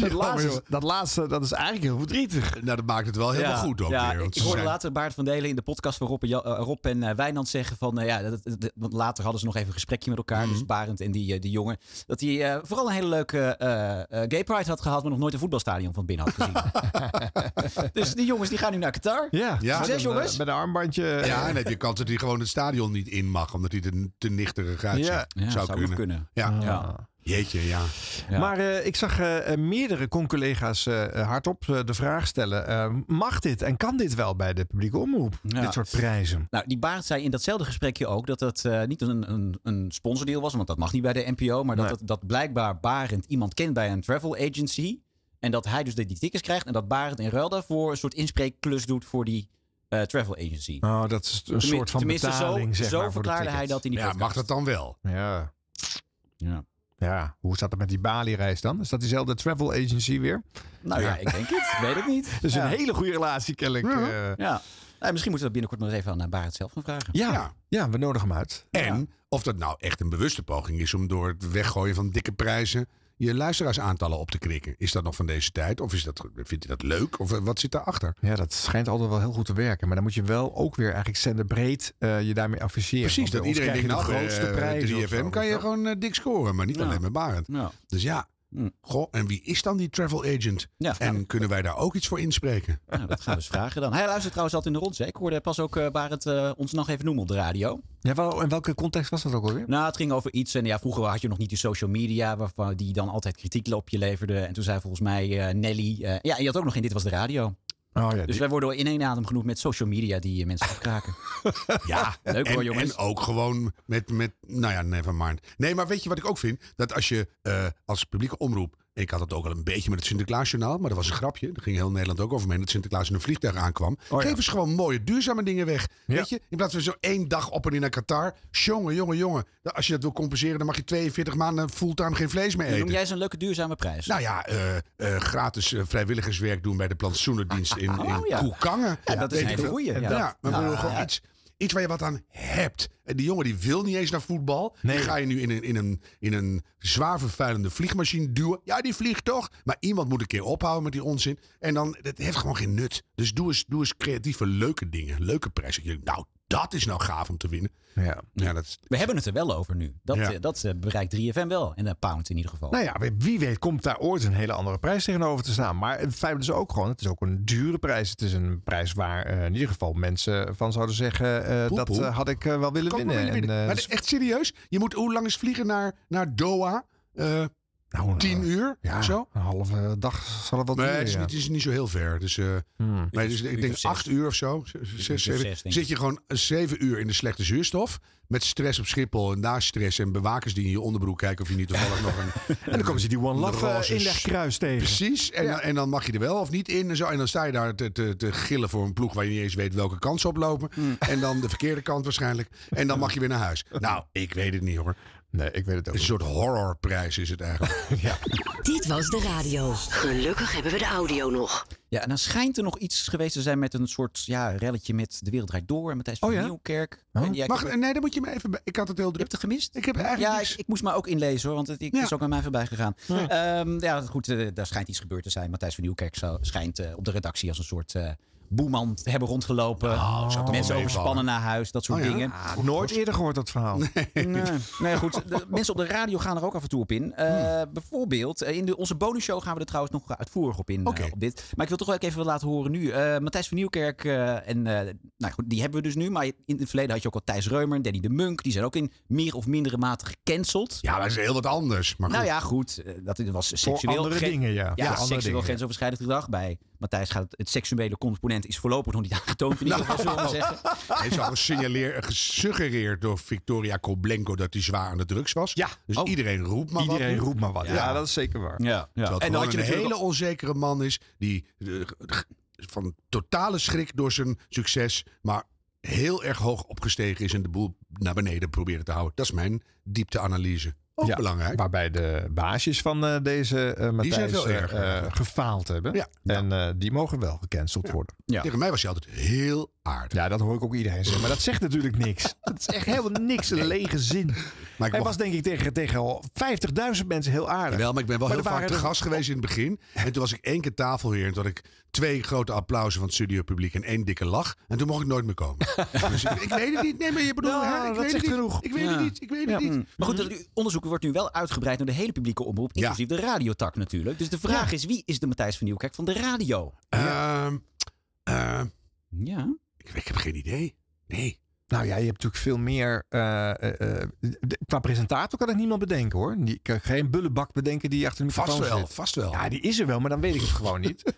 Dat, laatste, is- Dus dat laatste, dat is eigenlijk heel verdrietig. Nou, dat maakt het wel Ja, ja, ik, ik hoorde later Baart van Delen in de podcast van Rob en, Ja- eh, Rob en eh, Wijnand zeggen van... eh, ja, dat, dat- dat- want later hadden ze nog even een gesprekje met elkaar. Mhm. Dus Barend en die, eh, die jongen. Dat hij eh, vooral een hele leuke eh, eh, gay pride had gehad... maar nog nooit een voetbalstadion van binnen had gezien. dus die jongens die gaan nu naar Qatar. Succes jongens. een armbandje. Ja, en dan heb je kans dat hij gewoon het stadion niet in mag. Omdat hij er te nichterig uitziet. Ja. zou, Ja, zou nog kunnen. kunnen. Ja. Ja. Jeetje, ja. Maar eh, ik zag eh, eh, meerdere con-collega's eh, hardop eh, de vraag stellen: eh, mag dit en kan dit wel bij de publieke omroep? Ja. Dit soort prijzen. Nou, die Barend zei in datzelfde gesprekje ook dat dat eh, niet een, een, een sponsordeal was, want dat mag niet bij de NPO. Maar dat, dat, dat blijkbaar Barend iemand kent bij een travel agency. En dat hij dus die die tickets krijgt. En dat Barend in ruil daarvoor een soort inspreekklus doet voor die eh, travel agency. Oh, dat is een Tenmin- soort van tenminste, zo- betaling. zeg zo maar, voor de verklaarde tickets. hij dat in die Ja, podcast. mag dat dan wel? Ja. Ja. ja. Hoe staat het met die Bali-reis dan? Is dat diezelfde travel agency weer? Nou ja, ik denk het. Ik weet het niet. Dus Ja. een hele goede relatie, kennelijk. Ja. eh. Ja. Nou, misschien moeten we dat binnenkort nog even aan eh, Barend zelf gaan vragen. Ja. ja. we nodigen hem uit. En of dat nou echt een bewuste poging is om door het weggooien van dikke prijzen je luisteraarsaantallen op te krikken. Is dat nog van deze tijd? Of is dat, vindt hij dat leuk? Of eh, wat zit daarachter? Ja, dat schijnt altijd wel heel goed te werken. Maar dan moet je wel ook weer eigenlijk zenderbreed eh je daarmee afficheren. Precies, Want dat bij ons iedereen denkt, krijg nou, je de grootste prijs. eh, 3FM kan je gewoon eh, dik scoren, maar niet alleen met Barend. Dus ja, Hm. goh, en wie is dan die travel agent? en kunnen wij daar ook iets voor inspreken? Nou, dat gaan we eens vragen dan. Hij luistert trouwens altijd in de rond. hè? Ik hoorde pas ook eh, Barend eh, ons nog even noemen op de radio. Ja, wel, in welke context was dat ook alweer? Nou, het ging over iets. En ja, vroeger had je nog niet de social media. waarvan die dan altijd kritiek op je leverde. En toen zei volgens mij eh, Nelly. eh, ja, en je had ook nog in Dit was de radio. Oh, dus wij worden in één adem genoemd met social media die eh, mensen afkraken. Ja, leuk en, hoor, jongens. En ook gewoon met, met, nou ja, never mind. Nee, maar weet je wat ik ook vind? Dat als je eh, als publieke omroep, ik had dat ook al een beetje met het Sinterklaasjournaal, maar dat was een grapje. Daar ging heel Nederland ook over mee, dat Sinterklaas in een vliegtuig aankwam. Oh, Geef eens gewoon mooie, duurzame dingen weg. Weet je, in plaats van zo één dag op en neer naar Qatar. Jongen, jongen, jongen. Nou, Als je dat wil compenseren, dan mag je 42 maanden fulltime geen vlees meer Dan eten. noem jij eens een leuke duurzame prijs. Nou ja, eh, eh, gratis eh, vrijwilligerswerk doen bij de plantsoenendienst in, in Oh, ja. Koekangen. Ja, dat is Weet een ik hele veel. goeie, ja. Ja, Dat- maar ik bedoel, ja, gewoon ja. Iets, iets waar je wat aan hebt. En die jongen die wil niet eens naar voetbal. Die ga je nu in een, in, een, in een zwaar vervuilende vliegmachine duwen. Ja, die vliegt toch? Maar iemand moet een keer ophouden met die onzin. En dan, dat heeft gewoon geen nut. Dus doe eens, doe eens creatieve, leuke dingen. Leuke prijzen. Je- Nou, dat is nou gaaf om te winnen. Ja. dat is... We hebben het er wel over nu. Dat, Ja. eh, dat eh, bereikt 3FM wel. En de Pound in ieder geval. Nou ja, wie- wie weet komt daar ooit een hele andere prijs tegenover te staan. Maar het feit is ook gewoon, het is ook een dure prijs. Het is een prijs waar eh, in ieder geval mensen van zouden zeggen... eh, Poep, dat poep. eh, had ik eh, wel willen Kan ik winnen. wel willen winnen. En, eh, maar echt serieus? Je moet hoe lang is vliegen naar, naar Doha? Eh Nou, tien uur? ja, zo? een halve dag zal het wel Nee, duren, het is, ja. niet, het is niet zo heel ver. Dus, eh, maar dus, ik denk acht uur of zo. z- Zes, of zeven. zes, denk zit je gewoon zeven uur in de slechte zuurstof. Met stress op Schiphol en na stress. En bewakers die in je onderbroek kijken of je niet toevallig nog een... En dan komen ze die One Love, eh, inlegkruis tegen. Precies. En, Ja. dan- en dan mag je er wel of niet in. En, zo. en dan sta je daar te, te, te gillen voor een ploeg waar je niet eens weet welke kant ze oplopen. Hmm. En dan de verkeerde kant waarschijnlijk. En dan mag je weer naar huis. Nou, ik weet het niet hoor. Nee, ik weet het ook Een soort horrorprijs is het eigenlijk. Dit was de radio. Gelukkig hebben we de audio nog. Ja, en dan schijnt er nog iets geweest te zijn met een soort ja, relletje met De Wereld Draait Door en Matthijs van Nieuwkerk. Oh, En jij- Mag, nee, dan moet je me even... bij- Ik had het heel druk. Je hebt het gemist? Ik heb eigenlijk ja, niks- ik, ik moest maar ook inlezen hoor, want het ik, Ja. is ook aan mij voorbij gegaan. Ja. Ja, ja goed, eh, daar schijnt iets gebeurd te zijn. Matthijs van Nieuwkerk zou- schijnt eh, op de redactie als een soort eh boeman te hebben rondgelopen. zou toch mensen wel overspannen meevallen. naar huis, dat soort Oh ja? dingen. Ah, nooit eerder gehoord dat verhaal. Nee. Nee, goed. De mensen op de radio gaan er ook af en toe op in. Eh, Hmm. Bijvoorbeeld, eh, in de, onze bonusshow gaan we er trouwens nog uitvoerig op in. eh, op dit. Maar ik wil toch wel even laten horen nu. eh, Matthijs van Nieuwkerk, eh, en, eh, nou goed, die hebben we dus nu. Maar in het verleden had je ook al Thijs Reumer en Danny de Munk. Die zijn ook in meer of mindere mate gecanceld. Ja, maar dat is heel wat anders. Maar goed. Nou ja, goed. eh, Dat was seksueel. andere gren- dingen, ja. Ja, Voor andere seksueel dingen. grensoverschrijdend gedrag. Bij Matthijs gaat het, het seksuele component is voorlopig nog niet aangetoond. In ieder Nou, geval, zullen we maar zeggen. Hij is al gesignaleerd- gesuggereerd door Victoria Koblenko dat hij zwaar aan de drugs was. Dus iedereen roept maar wat. Iedereen nu. roept maar wat. Ja, dat is zeker waar. Oh. Ja, Terwijl het En en dan dat had je je een natuurlijk hele onzekere man is die eh, g- van totale schrik door zijn succes, maar heel erg hoog opgestegen is en de boel naar beneden probeert te houden. Dat is mijn diepteanalyse. Ook Ja, belangrijk. Waarbij de baasjes van eh, deze eh Matthijs zijn veel eh, erger eh, eigenlijk. gefaald hebben. Ja. En eh, die mogen wel gecanceld worden. Tegen mij was hij altijd heel aardig. Ja, dat hoor ik ook iedereen zeggen. Maar dat zegt natuurlijk niks. Dat is echt helemaal niks. Een lege zin. Maar ik Hij mag- was denk ik tegen, tegen al 50.000 mensen heel aardig. Wel, maar ik ben wel Maar heel er vaak waren te er- gast geweest in het begin. En toen was ik één keer tafelheer. En toen had ik twee grote applausen van het studiopubliek en één dikke lach. En toen mocht ik nooit meer komen. dus ik, ik weet het niet. Nee, maar je bedoelt... Nou, hè, ik dat weet zegt het genoeg. Niet. Ik weet het Ja. niet. Ik weet het Ja. niet. Maar goed, dat onderzoek wordt nu wel uitgebreid naar de hele publieke omroep, inclusief de radiotak natuurlijk. Dus de vraag is, wie is de Matthijs van Nieuwkerk van de radio? Ehm, ehm, Ja. ik, ik heb geen idee. Nee. Nou ja, je hebt natuurlijk veel meer. eh, eh, eh, de- qua presentator kan ik niemand bedenken hoor. Die kan geen bullenbak bedenken die achter de Vast microfoon wel, zit. vast wel. Ja, die is er wel, maar dan weet ik het gewoon niet.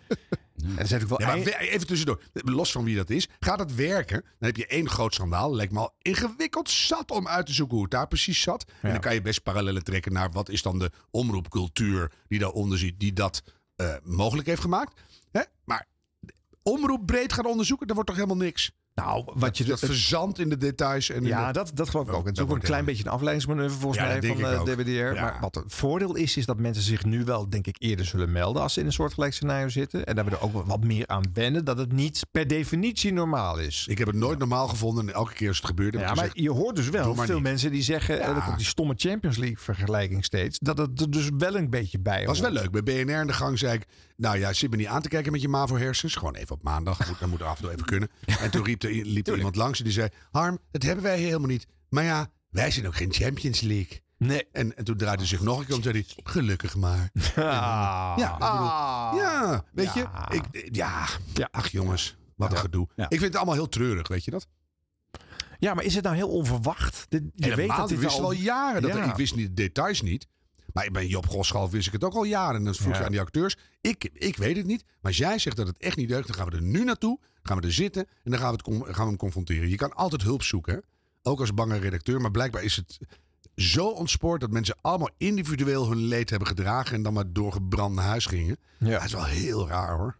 en dan zet ik wel. Nee, maar ei- we- even tussendoor, los van wie dat is. Gaat dat werken? Dan heb je één groot schandaal. Lijkt me al ingewikkeld zat om uit te zoeken hoe het daar precies zat. En dan kan je best parallellen trekken naar wat is dan de omroepcultuur die daaronder zit, die dat eh, mogelijk heeft gemaakt. Hè? Maar omroep breed gaan onderzoeken, daar wordt toch helemaal niks. Nou, wat je dat verzandt in de details. En in Ja, de- dat, dat geloof ik ook. Het is ook een wordt klein helemaal- beetje een afleidingsmanoeuvre volgens Ja, mij dat van eh, denk ik de ook. DWDR. Ja. Maar wat het voordeel is, is dat mensen zich nu wel, denk ik, eerder zullen melden als ze in een soortgelijk scenario zitten. En daar we er ook wel wat meer aan wennen dat het niet per definitie normaal is. Ik heb het nooit normaal gevonden en elke keer als het gebeurt. heb Ja, ik maar gezegd, je hoort dus wel doe maar veel niet. mensen die zeggen, eh, dat komt die stomme Champions League vergelijking steeds, dat het er dus wel een beetje bij was wel hoort. leuk. Bij BNR in de gang zei ik... Nou ja, zit me niet aan te kijken met je MAVO-hersens. Gewoon even op maandag. Moet, dat moet af en toe even kunnen. En toen riep er, liep er iemand langs en die zei... Harm, dat hebben wij helemaal niet. Maar ja, wij zijn ook geen Champions League. Nee. En, en toen draaide hij zich nog een keer om en zei hij... Gelukkig maar. Ja, ik bedoel, Ah. ja weet je? Ik, eh, ja. ach jongens. Wat een gedoe. Ik vind het allemaal heel treurig, weet je dat? Ja, maar is het nou heel onverwacht? Dit- je weet dat Helemaal, dit ik wist al- wel jaren. Dat Ja. ik wist niet, de details niet. Maar bij Job Goschalf wist ik het ook al jaren. En dan vroeg Ja. je aan die acteurs. Ik, ik weet het niet. Maar als jij zegt dat het echt niet deugt, dan gaan we er nu naartoe. Gaan we er zitten en dan gaan we, het con- gaan we hem confronteren. Je kan altijd hulp zoeken. hè. Ook als bange redacteur. Maar blijkbaar is het zo ontspoord dat mensen allemaal individueel hun leed hebben gedragen. En dan maar doorgebrand naar huis gingen. Dat is wel heel raar hoor.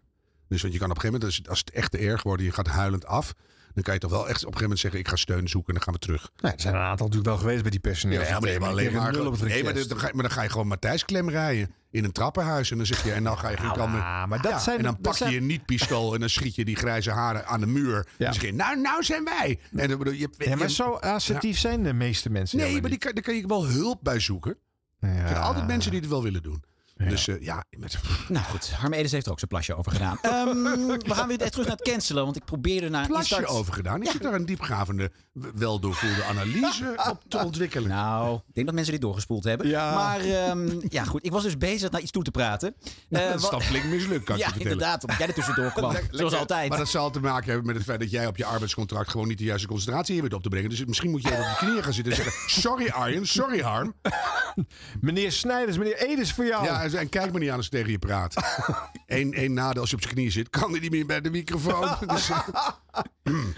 Dus want je kan op een gegeven moment, als- als het echt te erg wordt en je gaat huilend af. Dan kan je toch wel echt op een gegeven moment zeggen, ik ga steun zoeken en dan gaan we terug. er zijn een aantal natuurlijk wel geweest bij die personeel. Ja, maar, nee, maar, alleen maar, nul op het nee, maar, request. dan ga, je- maar dan ga je gewoon Matthijs klem rijden in een trappenhuis. En dan zeg je, en dan ga je geen kant meer. Nou, maar dat zijn- en dan dat pak zijn- je een niet-pistool en dan schiet je die grijze haren aan de muur. En dan zeg je, nou, nou zijn wij. En dan, bedoel, je, Ja, maar zo assertief zijn de meeste mensen. Nee, maar die, kan- daar kan je wel hulp bij zoeken. Er zijn altijd mensen die het wel willen doen. Dus eh, ja, met, Nou goed, Harm Edens heeft er ook zijn plasje over gedaan. nou, Ehm, we gaan weer terug naar het cancelen, want ik probeerde naar... plasje over gedaan. Ik zit daar een diepgravende, wel doorvoerde analyse op te ontwikkelen. Ah, Nou, ik denk dat mensen dit doorgespoeld hebben. Ja. Maar ehm, ja, goed. Ik was dus bezig naar iets toe te praten. Eh, dat is wat- dan flink mislukt, kan ik ja, je vertellen. inderdaad. Omdat jij er tussendoor kwam. Lek- zoals lekker. altijd. Maar dat zal te maken hebben met het feit dat jij op je arbeidscontract gewoon niet de juiste concentratie hier weet op te brengen. Dus misschien moet je even op je knieën gaan zitten en zeggen: Sorry Arjen, sorry Harm. meneer Snijders, meneer Edens voor jou. Ja, en- en kijk me niet aan als ik tegen je praat. Eén één nadeel als je op zijn knieën zit, kan hij niet meer bij de microfoon. Dus, eh,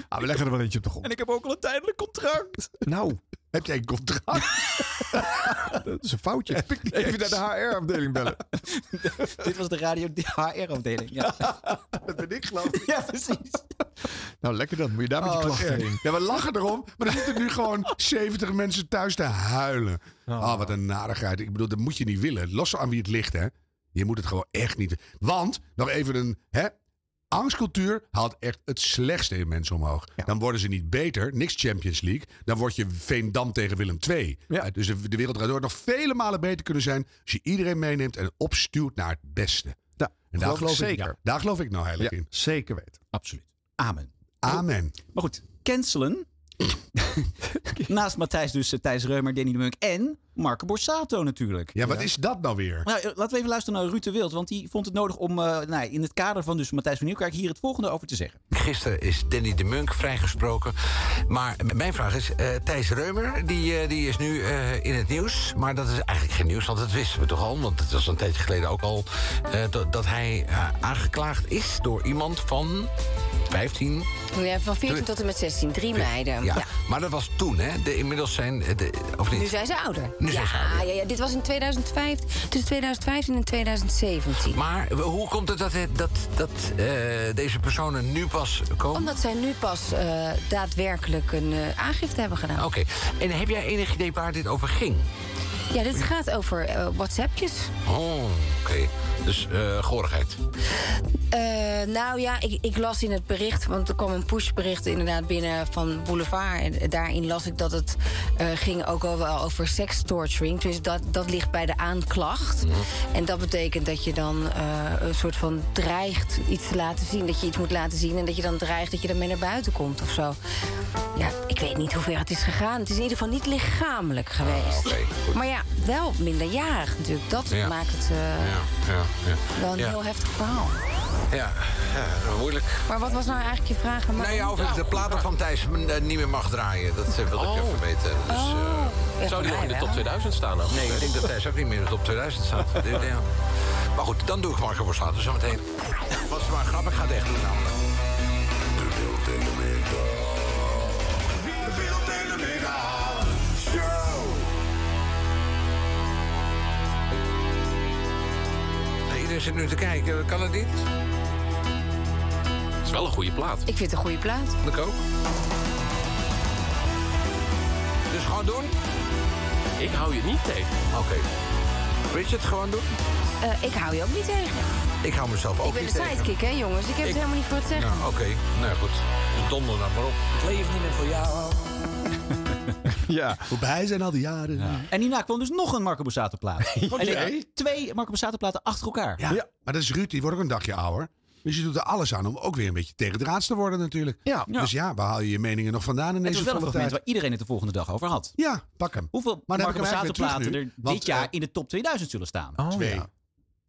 Ah, we leggen er wel eentje op de grond. En ik heb ook al een tijdelijk contract. Nou. Heb jij een contract? dat is een foutje. Heb ik Even naar de HR-afdeling bellen. Dit was de radio HR-afdeling. Ja. dat ben ik, geloof ik. Ja, precies. Nou, lekker dan. Moet je daar met je Oh, klachten erg. heen. Ja, we lachen erom, maar er zitten nu gewoon 70 mensen thuis te huilen. Oh, Ah, wat een narigheid. Ik bedoel, dat moet je niet willen. Los aan wie het ligt, hè. Je moet het gewoon echt niet... Want, nog even een... Hè, angstcultuur haalt echt het slechtste in mensen omhoog. Dan worden ze niet beter. Niks Champions League. Dan word je Veendam tegen Willem II. Eh, Dus de, de wereld draait door. Nog vele malen beter kunnen zijn als je iedereen meeneemt en opstuwt naar het beste. Ja, en daar geloof ik geloof, ik, zeker. ja, daar geloof ik nou heilig in. Zeker weten. Absoluut. Amen. Amen. Maar goed, cancelen. Naast Matthijs dus eh, Thijs Reumer, Danny de Munk en Marco Borsato natuurlijk. Ja, wat is dat nou weer? Nou, eh, laten we even luisteren naar Ruud de Wild. Want die vond het nodig om eh, nou, in het kader van dus Matthijs van Nieuwkerk hier het volgende over te zeggen. Gisteren is Danny de Munk vrijgesproken. Maar m- mijn vraag is, eh, Thijs Reumer, die, eh, die is nu eh, in het nieuws. Maar dat is eigenlijk geen nieuws, want dat wisten we toch al. Want het was een tijdje geleden ook al eh, dat, dat hij eh, aangeklaagd is door iemand van 15. Ja, eh, van 14 tot en met 16, drie meiden. Ja. Ja. Maar dat was toen, hè? De, inmiddels zijn... eh, De, of niet? Nu zijn ze ouder. Nu zijn ze ja, ja, ja, dit was in 2005, tussen 2015 en 2017. Maar w- hoe komt het dat, dat, dat eh, deze personen nu pas komen? Omdat zij nu pas eh, daadwerkelijk een eh, aangifte hebben gedaan. Oké. En heb jij enig idee waar dit over ging? Ja, dit gaat over eh, WhatsAppjes. Oh, oké. Dus eh gorigheid. Eh, nou ja, ik, ik las in het bericht, want er kwam een pushbericht inderdaad binnen van Boulevard. En daarin las ik dat het eh, ging ook al wel over sex torturing. Dus dat, dat ligt bij de aanklacht. En dat betekent dat je dan eh, een soort van dreigt iets te laten zien. Dat je iets moet laten zien en dat je dan dreigt dat je ermee naar buiten komt of zo. Ja, ik weet niet hoe ver het is gegaan. Het is in ieder geval niet lichamelijk geweest. maar ja, wel minderjarig natuurlijk. Dat Ah, Ja. maakt het eh, Ja, ja, ja. wel een ja. heel heftig verhaal. Ja, ja, moeilijk. Maar wat was nou eigenlijk je vraag aan mij? Nou ja, of ik de platen van Thijs eh, niet meer mag draaien. Dat eh, wil ik even weten. Dus, eh, Oh. Zou die nog in de top 2000 staan? Nee, ik denk dat Thijs ook niet meer in de top 2000 staat. Ja. Maar goed, dan doe ik Marco Borsato zo meteen. Was maar grappig, ik ga het echt nou. doen namelijk. Nou, Iedereen zit nu te kijken, kan het niet? Het is wel een goede plaat. Ik vind het een goede plaat. Ik ook. Dus gewoon doen? Ik hou je niet tegen. Oké. Richard, gewoon doen? Eh, ik hou je ook niet tegen. Ik hou mezelf ook ik ben de niet tegen. sidekick, hè jongens. Ik heb het helemaal niet voor het zeggen. Nou, oké. Nou goed. Dus donder dan maar op. Ik leef niet meer voor jou. Ja. Voorbij zijn al die jaren. En hierna kwam dus nog een Marco Borsato plaat. En Ja. ik- Twee Marco Borsato platen achter elkaar. Ja. Maar dat is Ruud, die wordt ook een dagje ouder. Dus je doet er alles aan om ook weer een beetje tegendraads te worden natuurlijk. Ja. Dus ja, waar haal je je meningen nog vandaan in Het deze was wel een volle fragment tijd? waar iedereen het de volgende dag over had. Ja, pak hem. Hoeveel Maar dan heb Marco ik hem Borsato eigenlijk weer terug platen nu. er dit Want, jaar eh, in de top 2000 zullen staan? Twee.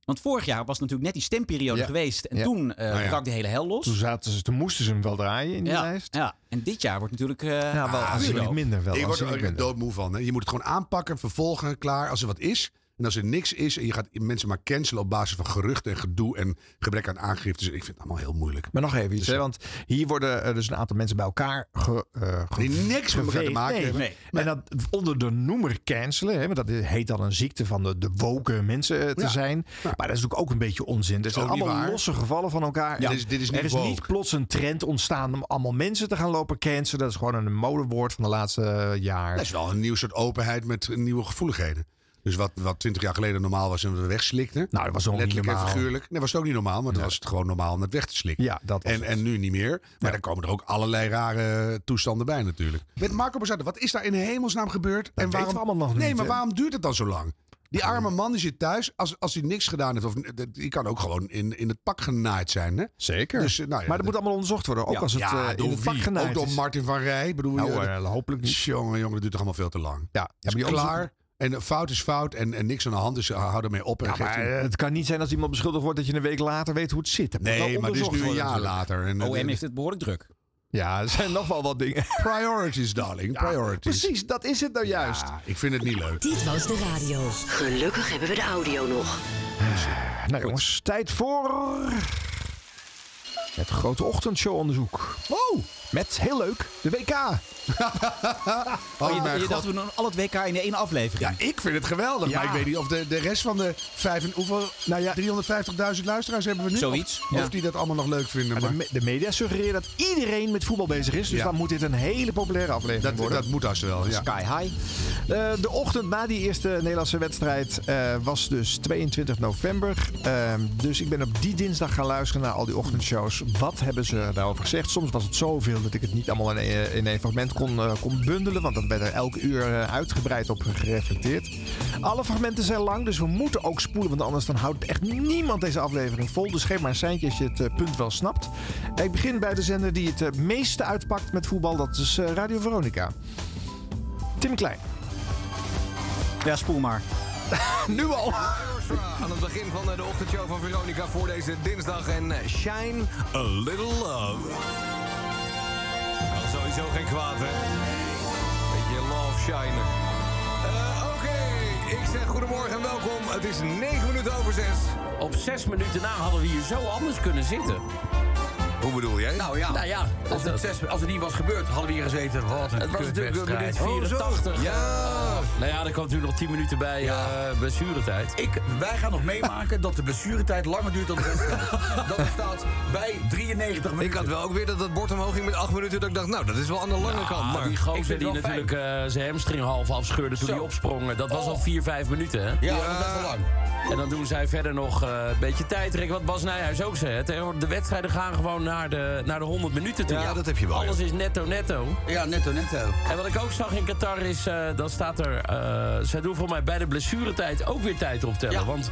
Want vorig jaar was natuurlijk net die stemperiode Ja. geweest. En Ja. toen eh, Nou ja. brak de hele hel los. Toen, zaten ze, toen moesten ze hem wel draaien in die ja. lijst. ja, en dit jaar wordt natuurlijk... eh wel Rudo. Ah, aanzienlijk minder wel. Ik word er aanzienlijk ook minder. doodmoe van. Hè. Je moet het gewoon aanpakken, vervolgen, klaar. Als er wat is, En als er niks is en je gaat mensen maar cancelen op basis van geruchten en gedoe en gebrek aan aangiftes. Ik vind het allemaal heel moeilijk. Maar nog even iets, hè, want hier worden eh, dus een aantal mensen bij elkaar ge, eh, ge- Die niks met elkaar te geveegd. maken Nee, hebben. nee. En dat onder de noemer cancelen, hè, want dat heet dan een ziekte van de, de woke mensen eh, te Ja. zijn. Maar dat is natuurlijk ook een beetje onzin. Dat zijn Ook niet allemaal waar. losse gevallen van elkaar. Ja, dit is- dit is niet er is woke. niet plots een trend ontstaan om allemaal mensen te gaan lopen cancelen. Dat is gewoon een modewoord van de laatste eh, jaar. Dat is wel een nieuw soort openheid met nieuwe gevoeligheden. Dus wat, wat 20 jaar geleden normaal was en we wegslikten. Nou, dat was ook niet Letterlijk en normaal. figuurlijk. Nee, was het ook niet normaal, maar dan was het gewoon normaal om het weg te slikken. Ja, dat was en, en nu niet meer. Maar dan komen er ook allerlei rare toestanden bij natuurlijk. Met Marco Borsato, wat is daar in hemelsnaam gebeurd? en weten waarom, we allemaal nog Nee, niet, maar hè? waarom duurt het dan zo lang? Die arme man die zit thuis, als, als hij niks gedaan heeft, of, die kan ook gewoon in, in het pak genaaid zijn. Hè? Zeker. Dus, eh, nou ja, maar dat moet allemaal onderzocht worden. Ook Ja, als het ja, eh, door in het vak wie? genaaid Ook door is. Martin van Rij. Bedoel Nou, je, eh, hopelijk niet. Jongen, jongen, dat duurt toch allemaal veel te lang. Ja, is maar die klaar. onderzoek- En eh, fout is fout en, en niks aan de hand, dus eh, hou ermee op. En Ja, geef maar hem- eh, het kan niet zijn als iemand beschuldigd wordt dat je een week later weet hoe het zit. Dat moet wel nee, maar dit is onderzocht nu een worden jaar natuurlijk. later. En, eh, OM heeft het behoorlijk druk. Ja, er zijn nog wel wat dingen. Priorities, darling. Priorities. Precies, dat is het nou juist. Ik vind het niet leuk. Dit was de radio. Gelukkig hebben we de audio nog. Nou jongens, tijd voor het grote ochtendshow-onderzoek. Oh! Wow! Met heel leuk de WK. Oh, je- mijn je, God. dacht, we doen al het WK in één aflevering. Ja, ik vind het geweldig, Ja. maar ik weet niet of de, de rest van de vijf, en- hoeveel, nou ja, 350.000 luisteraars hebben we nu. Zoiets, Of, ja. of die dat allemaal nog leuk vinden. Maar de, Maar... me- de media suggereren dat iedereen met voetbal bezig is. Dus Ja. dan moet dit een hele populaire aflevering Dat- worden. dat moet als wel, ja. Sky high. Eh, de ochtend na die eerste Nederlandse wedstrijd eh, was dus 22 november. Eh, dus ik ben op die dinsdag gaan luisteren naar al die ochtendshows. Wat hebben ze daarover gezegd? Soms was het zoveel dat ik het niet allemaal in, eh, in één fragment kon, eh, kon bundelen. Want dat werd er elk uur eh, uitgebreid op gereflecteerd. Alle fragmenten zijn lang, dus we moeten ook spoelen. Want anders dan houdt echt niemand deze aflevering vol. Dus geef maar een seintje als je het eh, punt wel snapt. Ik begin bij de zender die het eh, meeste uitpakt met voetbal. Dat is eh, Radio Veronica. Tim Klein. Ja, spoel maar. nu al. Aan het begin van de ochtendshow van Veronica voor deze dinsdag. En eh, shine a little love. Kan sowieso geen kwaad, hè? Beetje love shine. Eh, Oké, ik zeg goedemorgen en welkom. Het is 9 minuten over 6. Op zes minuten na hadden we hier zo anders kunnen zitten. Hoe bedoel jij? Nou ja, als, het zes, als het niet was gebeurd, hadden we hier gezeten. Wat een Het was natuurlijk kutwedstrijd. minuut 84. 84. Ja. Nou ja, er kwam natuurlijk nog 10 minuten bij eh, blessuretijd. Ik, wij gaan nog meemaken dat de blessuretijd langer duurt dan de wedstrijd. dat staat bij 93 minuten. Ik had wel ook weer dat dat bord omhoog ging met 8 minuten. Dat ik dacht, nou, dat is wel aan de lange kant. Maar die ik gozer vind die het wel fijn. natuurlijk eh, zijn hamstring half afscheurde toen Zo. hij opsprong. Dat was Oh. al 4, 5 minuten, hè? Ja, dat is wel lang. En dan doen zij verder nog eh, een beetje tijdrek. Wat Bas Nijhuis ook zei. hè. Tegenwoordig, De wedstrijden gaan gewoon naar de, naar de 100 minuten toe. Ja, dat heb je wel, Alles ja. is netto netto. Ja, netto, netto. En wat ik ook zag in Qatar is, eh dan staat er... eh, zij doen voor mij bij de blessuretijd ook weer tijd optellen. Want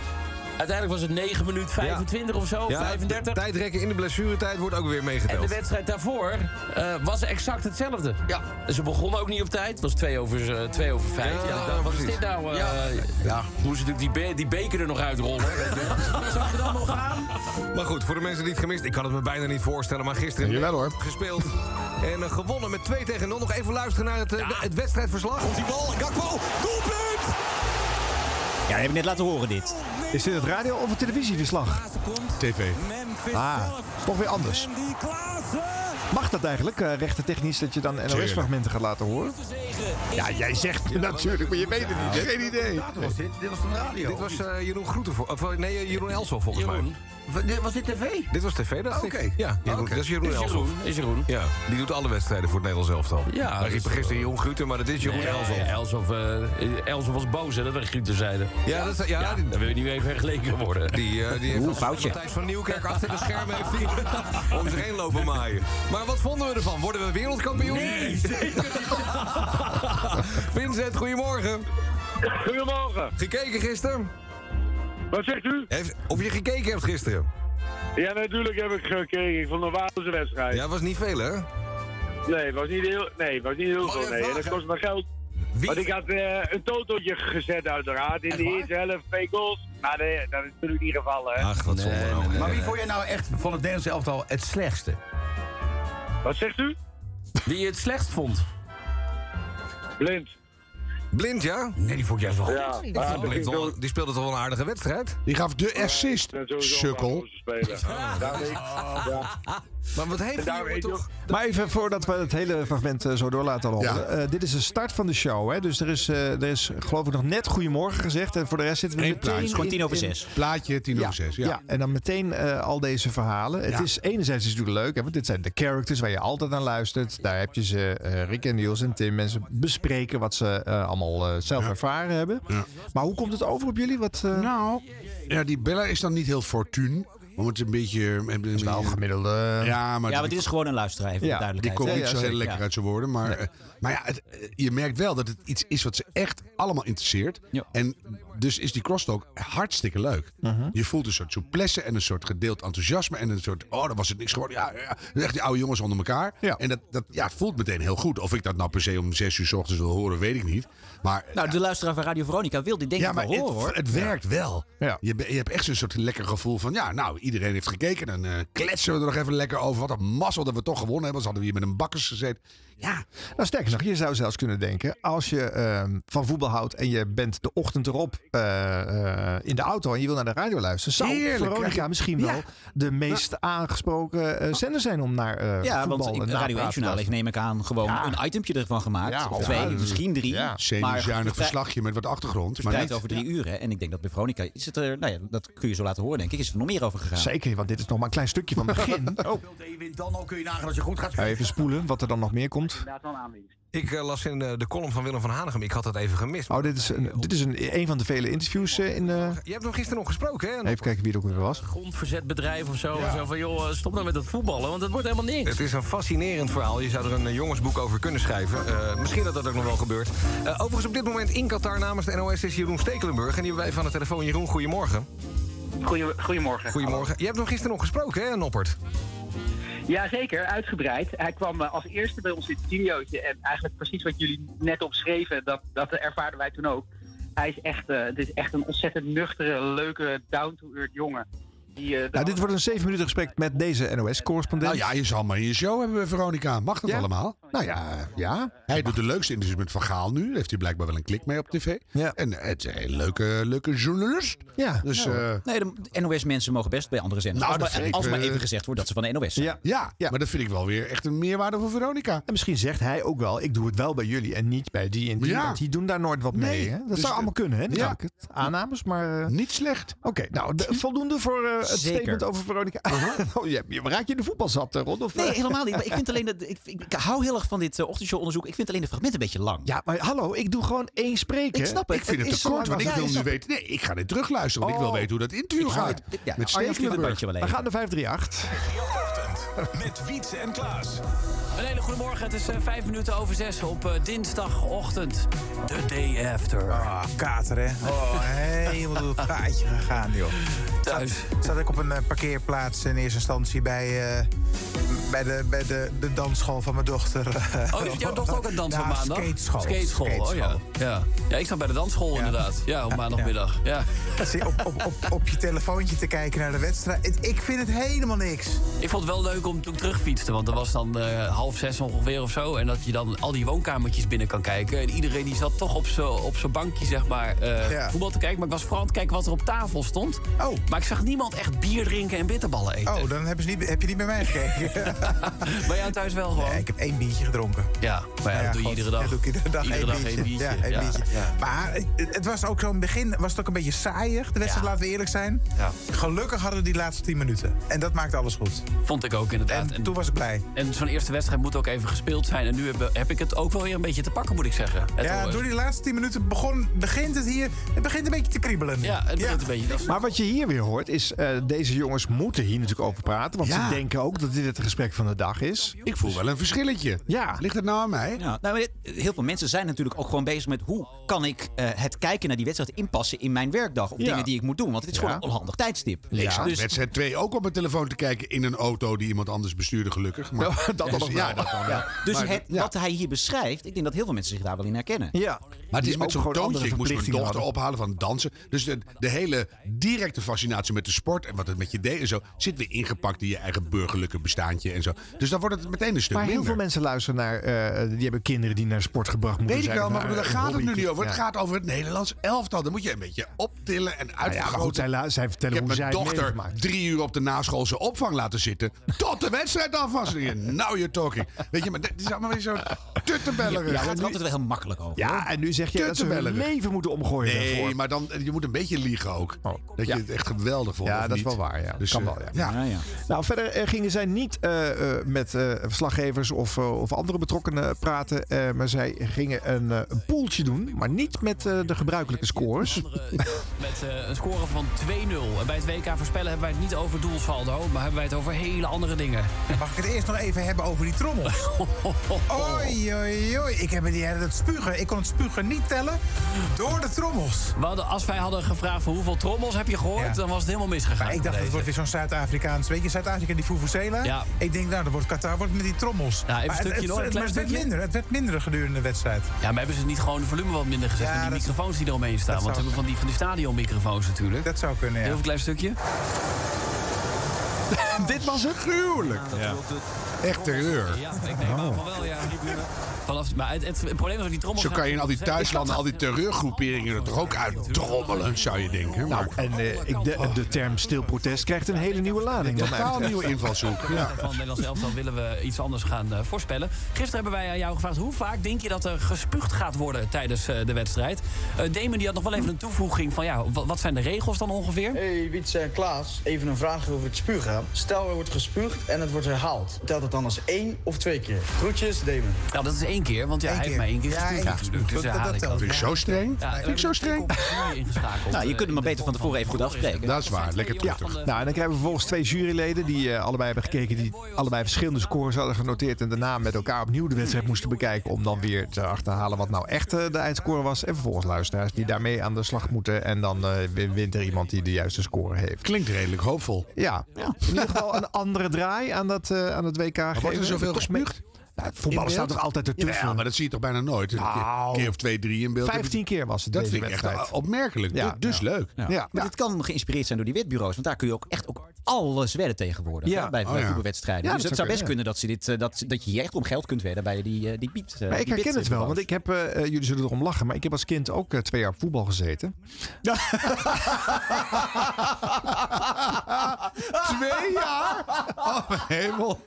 uiteindelijk was het 9 minuten 25 of zo, Ja, 35. de Tijdrekken in de blessuretijd wordt ook weer En de meegeteld. wedstrijd daarvoor eh, was exact hetzelfde. Ja. Ze begonnen ook niet op tijd. Het was 2 over, eh, twee over 5. Ja, Ja, ik dacht, wat is precies. dit nou? eh, Ja. ja. Hoe ze natuurlijk die, be- die beker er nog uitrollen. Zag je dat nog gaan? Maar goed, voor de mensen die het gemist, ik kan het me bijna niet voorstellen, maar gisteren Jawel, hoor. gespeeld en eh, gewonnen met 2 tegen 0. Nog even luisteren naar het, eh, we- het wedstrijdverslag. Komt die bal, Gakpo, doelpunt! Ja, dat heb ik net laten horen dit. Is dit het radio of het televisieverslag? TV. Ah, toch weer anders. Mag dat eigenlijk, eh rechter technisch, dat je dan NOS-fragmenten gaat laten horen? Ja, jij zegt natuurlijk, maar je weet het niet. Geen idee. was dit? Dit was van de radio. Dit was eh, Jeroen Groeten, of eh, nee, eh, Jeroen Elshoff volgens mij. Dit was dit tv? Oh, Dit was tv, dacht ik. Oké. Ja, Jeroen, Oké. dat is Jeroen Is Jeroen, Elshoff. is Jeroen. Ja, die doet alle wedstrijden voor het Nederlands elftal. Nou, Ja, Wij dat riepen is- gisteren Jeroen Groeten, maar dat is Jeroen Nee, Elshoff. Elshoff, eh, Elshoff was boos, hè, dat we Grieten zeiden. Ja, dat is- ja, die- dan wil je niet meer vergeleken worden. Die, eh, die heeft als Matthijs van Nieuwkerk achter de schermen heeft die om zich heen lopen maaien. Maar wat vonden we ervan? Worden we wereldkampioen? Nee, Vincent, goedemorgen. Goedemorgen. Gekeken gisteren? Wat zegt u? Heeft- of je gekeken hebt gisteren? Ja, natuurlijk heb ik gekeken. Ik vond het een waanzinnige wedstrijd. Ja, was niet veel, hè? Nee, het was niet heel, nee, het was niet heel veel. Nee, dat kost me geld. Want ik had eh, een totootje gezet uiteraard. In de eerste helft twee goals. Maar nee, dat is natuurlijk niet gevallen. Hè. Ach, wat zonde. nou, hè. Maar wie vond je nou echt van het Nederlandse elftal het slechtste? Wat zegt u? Wie je het slechtst vond. Blind. Blind, ja? Nee, die vond ik juist wel goed. Ja, die, maar dat blind vind ik wel- die speelde toch wel een aardige wedstrijd? Die gaf de assist, sukkel. Maar wat heeft Daar weet je toch... Maar even voordat we het hele fragment eh, zo door laten rollen. Eh, dit is de start van de show. Hè? Dus er is, eh, er is geloof ik nog net goedemorgen gezegd. En voor de rest zitten we meteen... plaatje. Gewoon tien over zes. Plaatje, tien over zes, ja. En dan meteen eh, al deze verhalen. Het Ja. is enerzijds is het natuurlijk leuk. Hè? Want dit zijn de characters waar je altijd aan luistert. Daar heb je ze, eh, Rick en Niels en Tim. En ze bespreken wat ze eh, allemaal eh, zelf ervaren hebben. Maar hoe komt het over op jullie? Wat, eh? Nou, ja, die Bella is dan niet heel fortuun. Om het een beetje... Een, een wel gemiddelde... Eh, Ja, maar, Ja, want dit is gewoon een luisteraar, even voor de Die duidelijkheid. komt Ja, niet ja, zo heel zeker, lekker ja. uit zijn woorden. Maar, eh, maar ja, het, eh, je merkt wel dat het iets is wat ze echt allemaal interesseert. En dus is die crosstalk hartstikke leuk. Uh-huh. Je voelt een soort souplesse en een soort gedeeld enthousiasme. En een soort, oh, dat was het niks geworden. Ja, ja, ja. Dat is Echt die oude jongens onder elkaar. En dat, dat ja, voelt meteen heel goed. Of ik dat nou per se om zes uur s ochtends wil horen, weet ik niet. Maar Nou, de luisteraar van Radio Veronica wil dit denk ja, ik maar wel horen, het, hoor. het werkt wel. Je, be- je hebt echt zo'n soort lekker gevoel van... ja, nou, iedereen heeft gekeken. Dan eh, kletsen we er nog even lekker over. Wat een mazzel dat we toch gewonnen hebben. Anders hadden we hier met een bakkers gezeten. Ja, Nou, sterker nog, je zou zelfs kunnen denken... als je ehm, van voetbal houdt en je bent de ochtend erop eh, eh, in de auto... en je wil naar de radio luisteren... zou Heerlijk, krijg Veronica je- misschien wel Ja. de meest aangesproken eh, zender zijn... om naar eh Ja, voetbal want en in napraat Radio te 1 Journaal luisteren. heeft, neem ik aan, gewoon Ja. een itempje ervan gemaakt. Ja, of ja, twee, dus- misschien drie. ja. Semi-zuinig de tijd- verslagje met wat achtergrond. de Maar tijd niet- over drie uur, hè. En ik denk dat bij Veronica is het er... Nou ja, dat kun je zo laten horen, denk ik. Is er nog meer over gegaan. Zeker, want dit is nog maar een klein stukje van het begin. Oh. Dan al kun je nagaan dat je goed gaat Nou, even spoelen wat er dan nog meer komt. Ik eh, las in eh, de column van Willem van Hanegem. Ik had dat even gemist. Oh, dit is een, dit is een, een van de vele interviews eh, in... eh, Je hebt nog gisteren nog gesproken, hè? even kijken wie er ook weer was. Grondverzetbedrijf of zo. Zo van, eh, joh, stop nou met dat voetballen, want het wordt helemaal niks. Het is een fascinerend verhaal. Je zou er een eh, jongensboek over kunnen schrijven. Eh, misschien dat dat ook nog wel gebeurt. Eh, overigens op dit moment in Qatar namens de NOS is Jeroen Stekelenburg. En die hebben wij van de telefoon. Jeroen, goedemorgen. Goedemorgen. Goedemorgen. Je hebt hem gisteren nog gesproken, hè, Noppert? Jazeker, uitgebreid. Hij kwam eh, als eerste bij ons in het studiootje. En eigenlijk precies wat jullie net opschreven, dat, dat ervaarden wij toen ook. Hij is echt, eh, het is echt een ontzettend nuchtere, leuke, down-to-earth jongen. Die, eh, Nou, dit wordt een zeven minuten gesprek met deze NOS-correspondent. Nou ja, je zal maar in je show hebben, eh, Veronica. Mag dat allemaal? Nou ja, ja. Hij doet de leukste interviews met Van Gaal nu. Daar heeft hij blijkbaar wel een klik mee op tv. En eh, het is een hele leuke, leuke journalist. Ja. Dus, Nou, eh, nee, de NOS-mensen mogen best bij andere zenders. Nou, als, dat maar, vind ik, als maar eh, even gezegd wordt dat ze van de NOS zijn. Ja, ja, maar dat vind ik wel weer echt een meerwaarde voor Veronica. En misschien zegt hij ook wel, ik doe het wel bij jullie en niet bij die en die. Ja. Want die doen daar nooit wat mee. Nee, hè? Dat dus, zou eh, allemaal kunnen, hè? die ja. raket. Aannames, maar... eh, Niet slecht. Oké, nou, de- voldoende voor eh, het Zeker. statement over Veronica. oh, je, je- raak je de voetbal zat, eh, Ron? Of, Nee, helemaal niet. Maar ik, vind alleen dat, ik, ik, ik hou heel erg van dit eh, ochtendshow-onderzoek. Ik vind alleen de fragmenten een beetje lang. Ja, maar hallo, ik doe gewoon één spreker. Ik snap het. Ik vind het is te zo kort, lang want ik als- wil Ja, nu ik snap weten. Nee, ik ga dit terugluisteren, want ik wil Oh. weten hoe dat interview Ik ga- gaat. ja, met Arjan stuurt het Stekelenburg. bandje wel even. We gaan naar 538. Met Wietse en Klaas. Een hele goede morgen. Het is eh, vijf minuten over zes op eh, dinsdagochtend. The day after. Ah, kater, hè? Oh, helemaal door het gaatje gegaan, joh. Thuis. Zat, zat ik op een eh, parkeerplaats in eerste instantie bij, eh, bij, de, bij de, de dansschool van mijn dochter. Oh, heeft jouw dochter ook een dans op Ja, maandag? Skateschool. Skateschool, Skateschool. oh ja. ja. Ja, ik sta bij de dansschool inderdaad. Ja, op maandagmiddag. Ja. Zit Op, op, op, op je telefoontje te kijken naar de wedstrijd. Het- Ik vind het helemaal niks. Ik vond het wel leuk om toen ik terugfietste, want dat was dan eh, half zes ongeveer of zo. En dat je dan al die woonkamertjes binnen kan kijken. En iedereen die zat toch op zijn op zo'n bankje, zeg maar, eh, Ja. voetbal te kijken. Maar ik was vooral aan het kijken wat er op tafel stond. Oh. Maar ik zag niemand echt bier drinken en bitterballen eten. Oh, dan hebben ze niet, heb je niet bij mij gekeken. Bij jou thuis wel gewoon? Nee, ik heb één biertje gedronken. Ja, maar ja, Nou dat doe je god, iedere dag. dat doe ik iedere dag Iedere één dag één biertje. biertje. Ja, één Ja, biertje. ja. Maar eh, het was ook zo'n begin, was het ook een beetje saaiig, de wedstrijd, laten we eerlijk zijn. Ja. Gelukkig hadden die laatste tien minuten. En dat maakt alles goed. Vond ik ook inderdaad. En, toen was ik blij. En zo'n eerste wedstrijd moet ook even gespeeld zijn. En nu heb, heb ik het ook wel weer een beetje te pakken, moet ik zeggen. Het ja, hoor. door die laatste tien minuten begon, begint het hier, het begint een beetje te kriebelen. Ja, het begint een beetje. Maar wat je hier weer hoort is, eh, deze jongens moeten hier natuurlijk over praten. Want Ja. ze denken ook dat dit het gesprek van de dag is. Ik voel wel een verschilletje. Ja. Ligt het nou aan mij? Ja, nou, maar dit- heel veel mensen zijn natuurlijk ook gewoon bezig met hoe kan ik eh, het kijken naar die wedstrijd inpassen in mijn werkdag. Of Ja. dingen die ik moet doen. Want het is gewoon een onhandig tijdstip. Ik zat Dus- wedstrijd 2 ook op mijn telefoon te kijken in een auto die iemand anders bestuurde, gelukkig. Maar, Ja, dat Dus- dan nog ja, wel. dat dan wel. Ja. Dus Maar- het, wat hij hier beschrijft, ik denk dat heel veel mensen zich daar wel in herkennen. Ja. Maar het is met zo'n toontje. Ik moest mijn dochter ophalen van het dansen. Dus de, de hele directe fascinatie met de sport en wat het met je deed en zo... zit weer ingepakt in je eigen burgerlijke bestaantje. en zo. Dus dan wordt het meteen een stuk Maar heel minder. veel mensen luisteren naar. eh, die hebben kinderen die naar sport gebracht moeten Weet ik zijn. wel, of maar naar daar een gaat het nu hobby. niet over. Het Ja. gaat over het Nederlands elftal. Dan moet je een beetje optillen en Nou uitvergroten. ja, maar goed, zij, la- zij vertellen Ik heb hoe zij mijn het dochter meegemaakt. drie uur op de naschoolse opvang laten zitten. Tot de wedstrijd af was. Now nou, you're talking. Weet je, maar dit is allemaal weer zo tuttenbellerig. Ja, want nu- heel makkelijk over. Ja, en nu zeg je dat ze hun Tuttenbellerig. leven moeten omgooien. Nee, daarvoor. maar dan, je moet een beetje liegen ook. dat je het echt geweldig vond. Ja, of dat is niet. wel waar. Ja. Dus, kan eh, wel, ja. Nou, verder eh, gingen zij niet eh, eh, met eh, verslaggevers of, eh, of andere betrokkenen praten. eh, maar zij gingen een, eh, een poeltje doen. Maar niet met eh, de gebruikelijke scores. Met eh, een score van 2-0. En bij het WK voorspellen hebben wij het niet over doelsaldo, maar hebben wij het over hele andere dingen. Oh, Mag ik het eerst nog even hebben over die Oh. trommel? Oei, oei, oei. Ik heb die, het spugen. Ik kon het spugen niet tellen door de trommels. We hadden, als wij hadden gevraagd van hoeveel trommels heb je gehoord, Ja. dan was het helemaal misgegaan. Maar ik dacht, het wordt weer zo'n Zuid-Afrikaans. Weet je, Zuid-Afrika die Fufuzela. Ja. Ik denk, nou, dat wordt Qatar wordt met die trommels. Ja, even een maar het- stukje het, hoor, een het- klein maar het werd stukje. minder. Het werd minder gedurende de wedstrijd. Ja, maar hebben ze niet gewoon de volume wat minder gezet? Ja, van die dat- microfoons die eromheen staan. dat Want ze zou- hebben van die, van die stadionmicrofoons natuurlijk. Dat zou kunnen, ja. Heel een klein stukje. Dit was het gruwelijk. Echt terreur. Ja, ik Oh. neem aan van wel, ja. Vanaf, maar het, het, het probleem is dat die trommels... Zo kan je in al die zijn- thuislanden, al die terreurgroeperingen er toch ook uittrommelen, zou je denken. Nou, en eh, ik de, de term stil protest krijgt een hele nieuwe lading. wat mij Totaal betreft. nieuwe Van Nederlands elftal willen we iets anders gaan eh, voorspellen. Gisteren hebben wij aan jou gevraagd hoe vaak denk je dat er gespuugd gaat worden tijdens eh, de wedstrijd. Eh Damon die had nog wel even een toevoeging van ja, wat, wat zijn de regels dan ongeveer? Hey Wietse en Klaas, even een vraag over het spugen. Stel er wordt gespuugd en het wordt herhaald. Telt het dan als één of twee keer? Groetjes, Damon. Ja, dat is één keer, want ja, hij heeft maar één keer gespuugd. natuurlijk, dus herhaal ik dat. streng. Ja, Vind ik zo streng. Nou, eh, je kunt hem maar beter van tevoren even goed afspreken. Dat is waar, lekker Ja. terug. Nou, en dan krijgen we vervolgens twee juryleden die eh, allebei hebben gekeken, die allebei verschillende scores hadden genoteerd en daarna met elkaar opnieuw de wedstrijd moesten bekijken om dan weer te achterhalen wat nou echt eh, de eindscore was. En vervolgens luisteraars die daarmee aan de slag moeten en dan eh, win- wint er iemand die de juiste score heeft. Klinkt redelijk hoopvol. Ja, in ieder geval een andere draai aan dat, eh, aan dat WK geven. Wordt er zoveel gespuugd? Nou, het voetbal staat toch altijd ertussen? Ja, maar dat zie je toch bijna nooit. Een Nou. keer of twee, drie in beeld. 15 keer was het Dat deze vind ik echt wedstrijd. opmerkelijk. Ja. Du- Dus leuk. Ja. Maar dit kan geïnspireerd zijn door die witbureaus. Want daar kun je ook echt ook alles wedden tegenwoordig. Ja. hè, Bij, Oh, bij ja. voetbalwedstrijden. Ja, dus dat het zou zou best kunnen, kunnen dat, ze dit, eh, dat, dat je hier echt om geld kunt wedden bij die, eh, die biept. eh, Maar ik die herken het wel, bitbureaus. want ik heb, eh, eh, jullie zullen erom lachen, maar ik heb als kind ook eh, twee jaar op voetbal gezeten. Twee jaar? Oh, mijn hemel.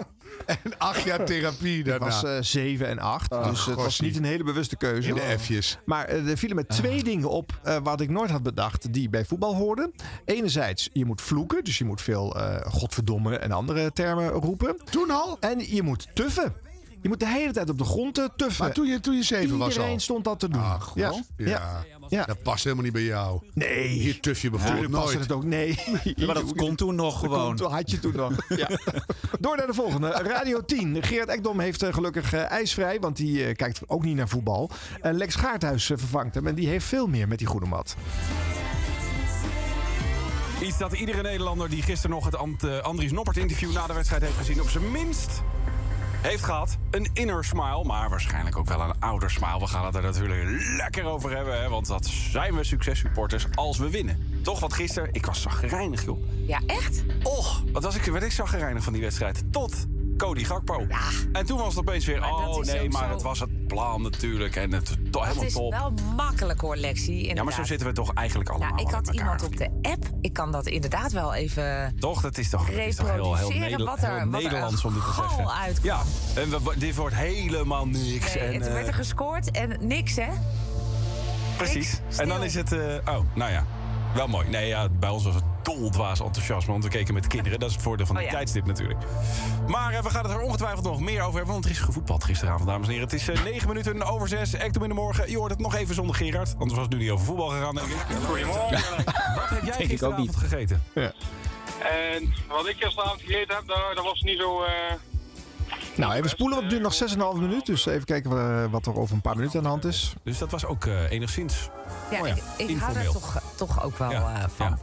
en acht jaar therapie Ik daarna. was eh, zeven en acht, Ah, dus het was gossie. niet een hele bewuste keuze. In de F'jes. Maar eh, er vielen me twee dingen op eh, wat ik nooit had bedacht die bij voetbal hoorden. Enerzijds, je moet vloeken, dus je moet veel eh, godverdomme en andere termen roepen. Toen al? En je moet tuffen. Je moet de hele tijd op de grond eh, tuffen. Maar toen je, toen je zeven was al. Iedereen stond dat te doen. Ach, ja. god. Ja. Ja. Dat past helemaal niet bij jou. Nee. Hier tuf je Natuurlijk bijvoorbeeld paste nooit. het ook, nee. maar dat kon toen nog Dat gewoon. kon toen- had je toen nog. Ja. Door naar de volgende. Radio 10. Gerard Ekdom heeft eh, gelukkig eh, ijsvrij, want die eh, kijkt ook niet naar voetbal. En Lex Gaarthuis eh, vervangt hem en die heeft veel meer met die goede mat. Iets dat iedere Nederlander die gisteren nog het Ant- eh, Andries Noppert interview na de wedstrijd heeft gezien, op zijn minst heeft gehad. Een inner smile, maar waarschijnlijk ook wel een ouder smile. We gaan het er natuurlijk lekker over hebben, hè, want dat zijn we successupporters als we winnen. Toch, want gisteren, ik was zagrijnig, joh. Ja, echt? Och, wat was ik, werd ik zagrijnig van die wedstrijd. Tot Cody Gakpo. En toen was het opeens weer, dat oh is nee, ook maar zo. het was het plan natuurlijk. En het to, Het helemaal is top. wel makkelijk hoor, Lexi. Inderdaad. Ja, maar zo zitten we toch eigenlijk allemaal. Nou, ik wel had met elkaar. iemand op de app. Ik kan dat inderdaad wel even. Toch, dat is toch, dat is toch heel, heel, Reproduceren Neder- wat er- heel wat er Nederlands om dit te gal zeggen. uitkomt. Ja, en we- we- dit wordt helemaal niks. Nee, en, het eh, werd er gescoord en niks, hè? precies. En dan is het... eh, oh, nou ja. Wel mooi. Nee, ja, bij ons was het doldwaas enthousiasme. Want we keken met kinderen. Dat is het voordeel van Oh, die ja. tijdstip natuurlijk. Maar eh, we gaan het er ongetwijfeld nog meer over hebben. Want er is gevoetbald gisteravond, dames en heren. Het is eh, negen minuten over zes. Ectum in de morgen. Je hoort het nog even zonder Gerard. Anders was het nu niet over voetbal gegaan, denk ik. Goedemorgen. Wat heb Denk jij ik ook gisteravond niet. gegeten? En wat ik gisteravond gegeten heb, daar, dat was niet zo... eh, Nou, even spoelen, want het duurt nog 6,5 minuut. Dus even kijken eh, wat er over een paar minuten aan de hand is. Dus dat was ook eh, enigszins Ja, oh ja, ik, ik hou informeel. er toch, toch ook wel Ja, eh, van. ja.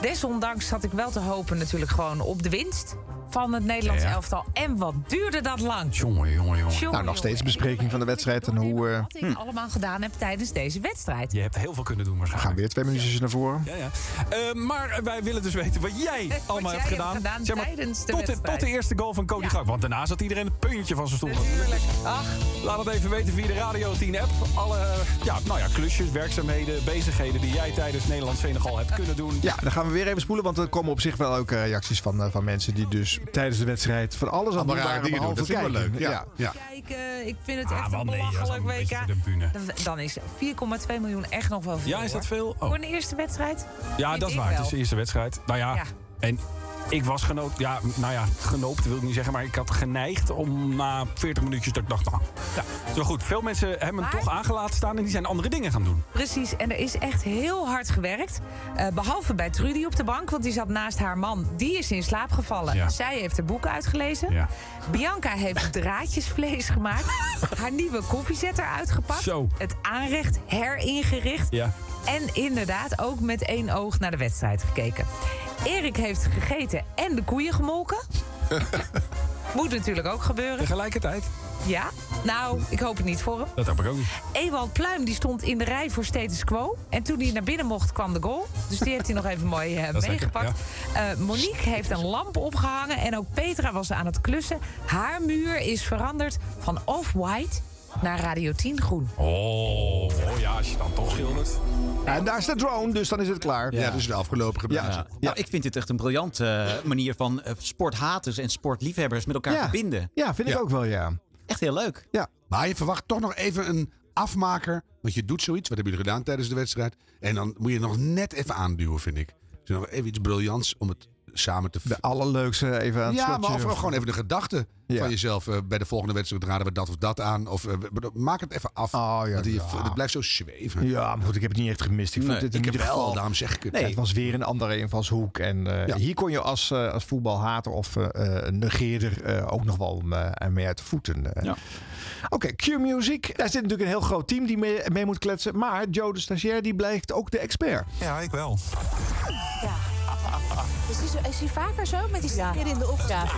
Desondanks zat ik wel te hopen natuurlijk gewoon op de winst van het Nederlands Ja, ja. elftal. En wat duurde dat lang? Jongen, jongen, Jongen, Nou, nog steeds bespreking van de wedstrijd en hoe... eh, Wat ik Hm. allemaal gedaan heb tijdens deze wedstrijd. Je hebt heel veel kunnen doen we waarschijnlijk. gaan weer twee minuutjes naar voren. Ja, ja. Eh, maar wij willen dus weten wat jij Eh, Wat allemaal jij hebt hebt gedaan. gedaan tijdens de tot, wedstrijd. tot de eerste goal van Cody Gak. Want daarna zat iedereen het puntje van zijn stoel. Ach. Laat het even weten via de Radio 10 app. Alle eh, ja, nou ja, klusjes, werkzaamheden, bezigheden die jij tijdens Nederland-Senegal hebt kunnen doen. Ja, dan gaan we weer even spoelen, want er komen op zich wel ook eh, reacties van, eh, van mensen die dus tijdens de wedstrijd van alles aan Allemaal het doen rare waren, dingen doen. Dat behalve vind ik wel kijken. leuk. Ja. Ja. Kijken, ik vind het echt een Ah, nee, ja, belachelijk dan is WK. het de bühne. Dan, dan is 4,2 miljoen echt nog wel veel. Ja, is dat hoor. veel? Oh. Voor een eerste wedstrijd? Ja, Vind dat is ik waar. wel. Het is de eerste wedstrijd. Nou ja, Ja. en ik was genoopt. Ja, nou ja, genoopt wil ik niet zeggen. Maar ik had geneigd om na 40 minuutjes dat ik dacht... Nou, ja. Zo goed, veel mensen hebben hem toch aangelaten staan... en die zijn andere dingen gaan doen. Precies, en er is echt heel hard gewerkt. Eh, behalve bij Trudy op de bank, want die zat naast haar man. Die is in slaap gevallen. Ja. Zij heeft haar boeken uitgelezen. Ja. Bianca heeft draadjesvlees gemaakt. haar nieuwe koffiezetter uitgepakt. Zo. Het aanrecht heringericht. Ja. En inderdaad ook met één oog naar de wedstrijd gekeken. Erik heeft gegeten en de koeien gemolken. Moet natuurlijk ook gebeuren. Tegelijkertijd? Ja. Nou, ik hoop het niet voor hem. Dat heb ik ook niet. Ewald Pluim die stond in de rij voor status quo. En toen hij naar binnen mocht, kwam de goal. Dus die heeft hij nog even mooi eh, Dat is lekker, meegepakt. Eh, Monique heeft een lamp opgehangen. En ook Petra was aan het klussen. Haar muur is veranderd van off-white naar Radio 10 groen. Oh, oh ja, als je dan toch schildert. En daar is de drone, dus dan is het klaar. Ja, dus de afgelopen Ja. Nou, ik vind dit echt een briljante eh, manier van eh, sporthaters en sportliefhebbers met elkaar Ja. te binden. Ja, vind ik ook wel, ja. Echt heel leuk. Ja. Maar je verwacht toch nog even een afmaker. Want je doet zoiets. Wat hebben jullie gedaan tijdens de wedstrijd? En dan moet je nog net even aanduwen, vind ik. Dus nog even iets briljants om het samen te... De allerleukste even aan het Ja, slotje. maar of, gewoon even de gedachte Ja. van jezelf. eh, bij de volgende wedstrijd raden we dat of dat aan. Of eh, we- maak het even af. Want je- Oh, ja. Het blijft zo zweven. Ja, maar goed, ik heb het niet echt gemist. Dus Ik vond Nee, dit in ik heb ieder wel, geval... daarom zeg ik het. Nee, het was weer een andere invalshoek. En eh, hier kon je als, eh, als voetbalhater of eh, eh, negeerder eh, ook nog wel eh, mee uit de voeten. eh. Oké, Q Music. Daar zit natuurlijk een heel groot team die mee, mee moet kletsen. Maar Joe de Stagiair, die blijkt ook de expert. Ja, ik wel. Is hij, is hij vaker zo met die sticker in de opdracht?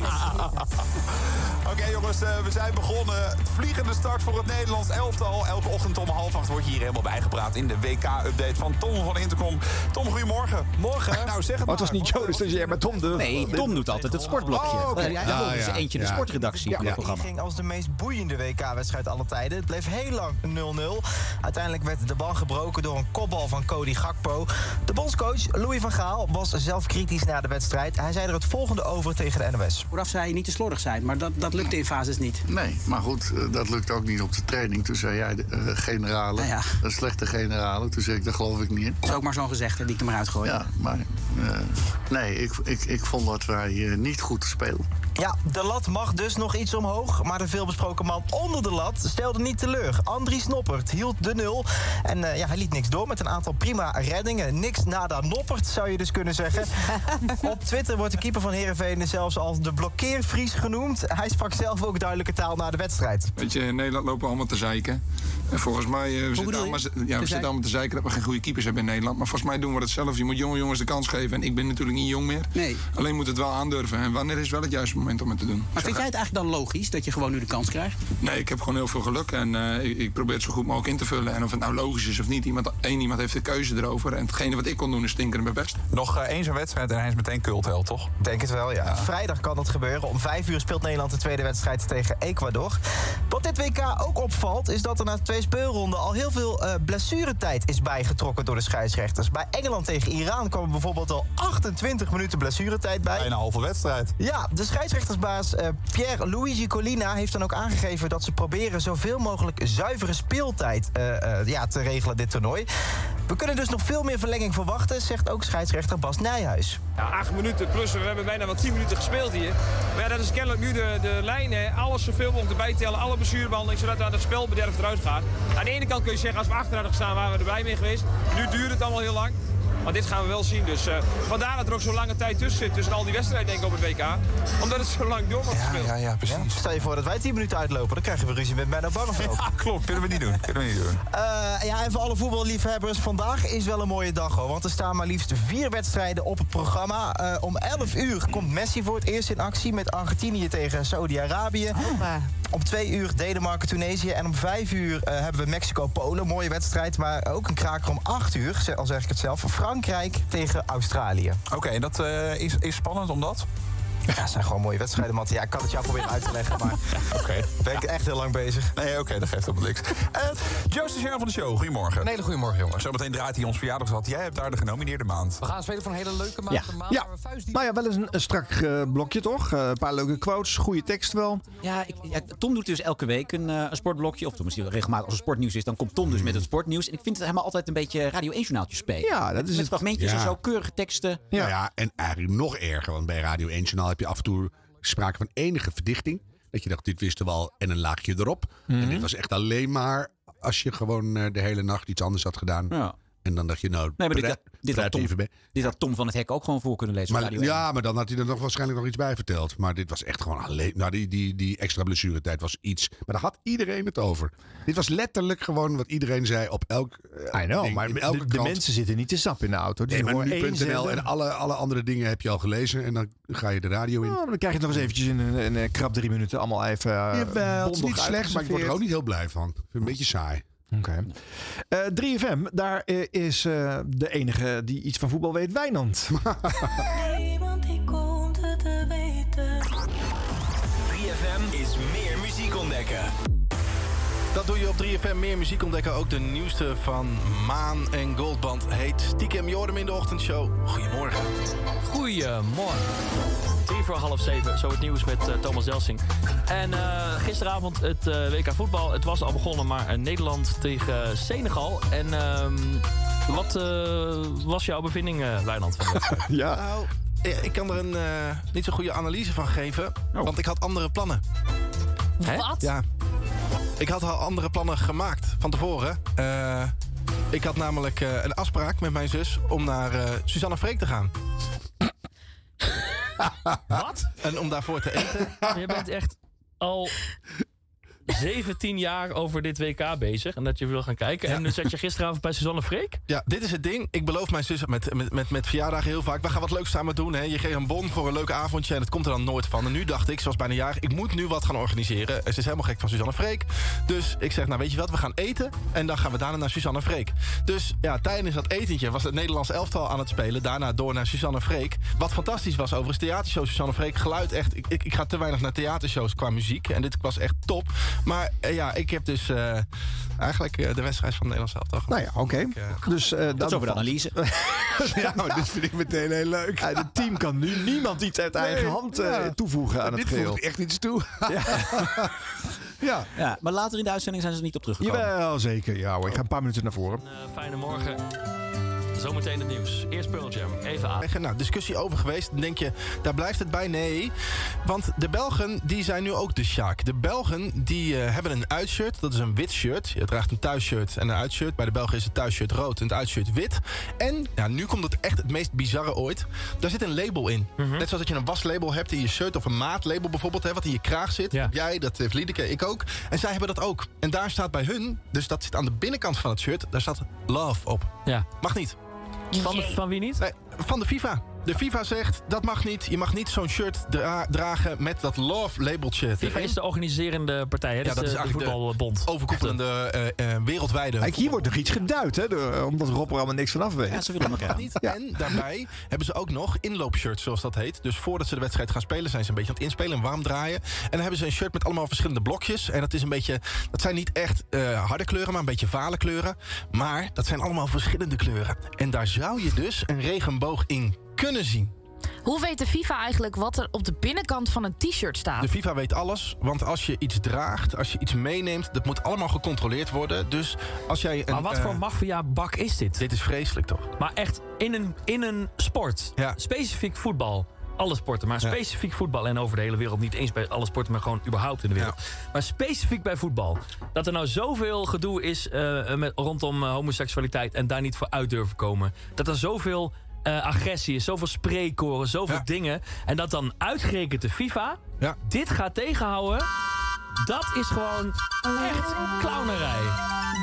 Oké jongens, eh, we zijn begonnen. Vliegende start voor het Nederlands elftal. Elke ochtend om half acht word je hier helemaal bijgepraat in de WK-update van Tom van Intercom. Tom, goedemorgen. Morgen. Nou, zeg het Oh, het was niet Joe de Stagiair, maar Tom de... Nee, Tom doet altijd het sportblokje. Oh, oké. Eh, Hij Ja, volgt dus ja, eentje de ja. sportredactie van het programma. ging als de meest boeiende WK-wedstrijd alle tijden. Het bleef heel lang 0-0. Uiteindelijk werd de bal gebroken door een kopbal van Cody Gakpo. De bondscoach Louis van Gaal was zelf kritisch na de wedstrijd. Hij zei er het volgende over tegen de NOS. Vooraf zei je niet te slordig zijn, maar dat, dat lukt in fases niet. Nee, maar goed, eh, dat lukt ook niet op de training. Toen zei jij, eh generale, Nou ja. een slechte generale. Toen zei ik, daar geloof ik niet in. Dat is ook maar zo'n gezegde die ik er maar uitgooi. Ja, maar eh, nee, ik, ik, ik vond dat wij eh, niet goed speelden. Ja, de lat mag dus nog iets omhoog. Maar de veelbesproken man onder de lat stelde niet teleur. Andries Noppert hield de nul. En eh, ja, hij liet niks door met een aantal prima reddingen. Niks nada Noppert, zou je dus kunnen zeggen. Op Twitter wordt de keeper van Heerenveen zelfs als de blokkeervries genoemd. Hij sprak zelf ook duidelijke taal na de wedstrijd. Weet je, in Nederland lopen we allemaal te zeiken. En volgens mij, eh, we, zitten allemaal, ja, we zitten allemaal te zeiken dat we geen goede keepers hebben in Nederland. Maar volgens mij doen we dat zelf. Je moet jonge jongens de kans geven. En ik ben natuurlijk niet jong meer. Nee. Alleen moet het wel aandurven. En wanneer is wel het juiste moment om het te doen? Maar vind jij het eigenlijk dan logisch dat je gewoon nu de kans krijgt? Nee, ik heb gewoon heel veel geluk. En eh, ik, ik probeer het zo goed mogelijk in te vullen. En of het nou logisch is of niet, iemand, één iemand heeft de keuze erover. En hetgene wat ik kon doen is stinken mijn best. Nog eh, één zo'n wedstrijd en hij is meteen cultheld, toch? Denk het wel, ja. Vrijdag kan dat gebeuren. Om vijf uur speelt Nederland de tweede wedstrijd tegen Ecuador. Wat dit WK ook opvalt, is dat er na twee speelronden al heel veel eh, blessuretijd is bijgetrokken door de scheidsrechters. Bij Engeland tegen Iran kwam er bijvoorbeeld al 28 minuten blessuretijd bij. Bijna een halve wedstrijd. Ja, de scheidsrechtersbaas eh, Pierre Luigi Colina heeft dan ook aangegeven dat ze proberen zoveel mogelijk zuivere speeltijd eh, eh, ja, te regelen dit toernooi. We kunnen dus nog veel meer verlenging verwachten, zegt ook scheidsrechter Bas Nijhuis. Ja, acht minuten plus, we hebben bijna wel tien minuten gespeeld hier. Maar ja, dat is kennelijk nu de, de lijn. Hè. Alles zoveel mogelijk erbij tellen, alle blessurebehandeling, zodat er aan het spelbederf eruit gaat. Aan de ene kant kun je zeggen, als we achteruit hadden gestaan, waren we erbij mee geweest. Nu duurt het allemaal heel lang. Maar dit gaan we wel zien. Dus eh, vandaar dat er ook zo'n lange tijd tussen zit. Tussen al die wedstrijden denk ik op het WK. Omdat het zo lang door wordt gespeeld. Ja, ja, precies. Stel je voor dat wij 10 minuten uitlopen, dan krijgen we ruzie met Menno Barneveld. klopt, kunnen we niet doen. Kunnen we niet doen. Eh, ja, en voor alle voetballiefhebbers, vandaag is wel een mooie dag hoor. Want er staan maar liefst vier wedstrijden op het programma. Eh, om 11 uur komt Messi voor het eerst in actie met Argentinië tegen Saudi-Arabië. Om 2 uur Denemarken, Tunesië. En om 5 uur eh, hebben we Mexico-Polen. Mooie wedstrijd, maar ook een kraker om 8 uur, ze- al zeg ik het zelf. Frankrijk tegen Australië. Oké, en dat eh, is, is spannend omdat? Ja, het zijn gewoon mooie wedstrijden, Matt. Ja, ik kan het jou proberen uit te leggen, maar Oké. ben ik echt heel lang bezig. Nee, oké, dat geeft helemaal niks. Eh Joost de Sharon van de Show, goedemorgen. Een hele goedemorgen, jongen. Zometeen draait hij ons verjaardagsrad. Jij hebt daar de genomineerde maand. We gaan spelen voor een hele leuke maand. Ja. Een maand ja. waar we Nou ja, wel eens een, een strak eh, blokje toch? Eh, een paar leuke quotes, goede tekst wel. Ja, ik, ja, Tom doet dus elke week een, eh, een sportblokje. Of Tom is regelmatig als er sportnieuws is, dan komt Tom dus met het sportnieuws. En ik vind het helemaal altijd een beetje Radio 1 journaaltje spelen. Hmm. Ja, dat Met- is met het. fragmentjes Ja. en zo, keurige teksten. Nou, Ja. Nou ja, en eigenlijk nog erger, want bij Radio 1 Journaal heb je af en toe sprake van enige verdichting. Dat je dacht, dit wisten we al en een laagje erop. Mhm. En dit was echt alleen maar als je gewoon eh, de hele nacht iets anders had gedaan. Ja. En dan dacht je, nou, Nee, maar dit, pret- had- dit, had pret Tom, even bij. dit had Tom van het Hek ook gewoon voor kunnen lezen. op Maar, Radio 1. ja, maar dan had hij er nog waarschijnlijk nog iets bij verteld. Maar dit was echt gewoon alleen. Nou, die, die, die extra blessuretijd was iets. Maar daar had iedereen het over. Dit was letterlijk gewoon wat iedereen zei op elk. eh, I know, ding, maar in de, elke de krant. mensen zitten niet te snap in de auto. Die Nee, maar horen één nu.nl zender. en alle, alle andere dingen heb je al gelezen. En dan ga je de radio in. Oh, maar dan krijg je het nog eens eventjes in een, een, eh, krap drie minuten allemaal even. eh, Jawel, het is niet bondig slecht, maar ik word er uitgeserveerd. ook niet heel blij van. Ik vind het een beetje saai. Oké. Eh, 3FM, daar eh, is eh, de enige die iets van voetbal weet, Wijnand. Niemand die komt het te weten. 3FM is meer muziek ontdekken. Dat doe je op 3FM. Meer muziek ontdekken. Ook de nieuwste van Maan en Goldband heet Stiekem Jorem in de ochtendshow. Goedemorgen. Goedemorgen. Drie voor half zeven, zo het nieuws met eh, Thomas Delsing. En eh, gisteravond het eh, WK voetbal. Het was al begonnen, maar eh, Nederland tegen eh, Senegal. En ehm, wat eh, was jouw bevinding, eh Wijnand? Van de wedstrijd? Nou, eh, ik kan er een eh, niet zo goede analyse van geven. Want ik had andere plannen. Wat? Ja. Ik had al andere plannen gemaakt van tevoren. Eh, ik had namelijk eh, een afspraak met mijn zus om naar eh, Suzanne Freek te gaan. Wat? En om daarvoor te eten. Je bent echt al 17 jaar over dit WK bezig. En dat je wil gaan kijken. En dus zat je gisteravond bij Suzanne Freek? Ja, dit is het ding. Ik beloof mijn zus met, met, met, met verjaardagen heel vaak. We gaan wat leuks samen doen. Hè. Je geeft een bon voor een leuk avondje en het komt er dan nooit van. En nu dacht ik, zoals bijna jaar, ik moet nu wat gaan organiseren. En Ze is helemaal gek van Suzanne Freek. Dus ik zeg, nou weet je wat, we gaan eten. En dan gaan we daarna naar Suzanne Freek. Dus ja, tijdens dat etentje was het Nederlands elftal aan het spelen. Daarna door naar Suzanne Freek. Wat fantastisch was overigens, theatershow Suzanne Freek. Geluid echt, ik, ik, ik ga te weinig naar theatershows qua muziek. En dit was echt top. Maar eh, ja, ik heb dus eh, eigenlijk eh, de wedstrijd van het Nederlands elftal Nou ja, oké. Dus, eh dat over de analyse. ja, nou, dit vind ik meteen heel leuk. Ja, het team kan nu niemand iets uit eigen Nee, hand eh, ja. toevoegen aan Dit het geheel. voegt echt iets toe. Ja. ja, maar later in de uitzending zijn ze er niet op teruggekomen. Jawel, zeker. Ja, hoor. Ik ga een paar minuten naar voren. Eh, fijne morgen. Zometeen het nieuws. Eerst Pearl Jam. Even aan. Belgen, Nou, discussie over geweest. Dan denk je, daar blijft het bij. Nee, want de Belgen die zijn nu ook de Sjaak. De Belgen die eh, hebben een uitshirt. Dat is een wit shirt. Je draagt een thuisshirt en een uitshirt. Bij de Belgen is het thuisshirt rood en het uitshirt wit. En nou, nu komt het echt het meest bizarre ooit. Daar zit een label in. Net zoals dat je een waslabel hebt in je shirt of een maatlabel bijvoorbeeld. Hè, wat in je kraag zit. Jij, dat heeft Liedeke, ik ook. En zij hebben dat ook. En daar staat bij hun, dus dat zit aan de binnenkant van het shirt. Daar staat love op. Ja. Mag niet. Van, de- van wie niet? Nee, van de FIFA. De FIFA zegt dat mag niet. Je mag niet zo'n shirt dra- dragen met dat love labeltje. FIFA is de organiserende partij. Hè? Dus, eh, Ja, dat is de, de eigenlijk de voetbalbond. overkoepelende eh, eh, wereldwijde. Kijk, hier wordt nog iets geduid, hè, door- omdat Rob er allemaal niks van af weet. Ja, ze willen elkaar niet. En daarbij hebben ze ook nog inloopshirts, zoals dat heet. Dus voordat ze de wedstrijd gaan spelen, zijn ze een beetje aan het inspelen en warm draaien. En dan hebben ze een shirt met allemaal verschillende blokjes. En dat is een beetje, dat zijn niet echt eh, harde kleuren, maar een beetje vale kleuren. Maar dat zijn allemaal verschillende kleuren. En daar zou je dus een regenboog in kunnen zien. Hoe weet de FIFA eigenlijk wat er op de binnenkant van een t-shirt staat? De FIFA weet alles, want als je iets draagt, als je iets meeneemt, dat moet allemaal gecontroleerd worden. Dus als jij een. Maar wat voor maffia-bak is dit? Dit is vreselijk toch? Maar echt in een, in een sport, specifiek voetbal, alle sporten, maar specifiek voetbal en over de hele wereld. Niet eens bij alle sporten, maar gewoon überhaupt in de wereld. Maar specifiek bij voetbal. Dat er nou zoveel gedoe is eh, met, rondom eh, homoseksualiteit en daar niet voor uit durven komen. Dat er zoveel eh, agressie is, zoveel spreekkoren, zoveel dingen. En dat dan uitgerekend de FIFA dit gaat tegenhouden. Dat is gewoon echt clownerij.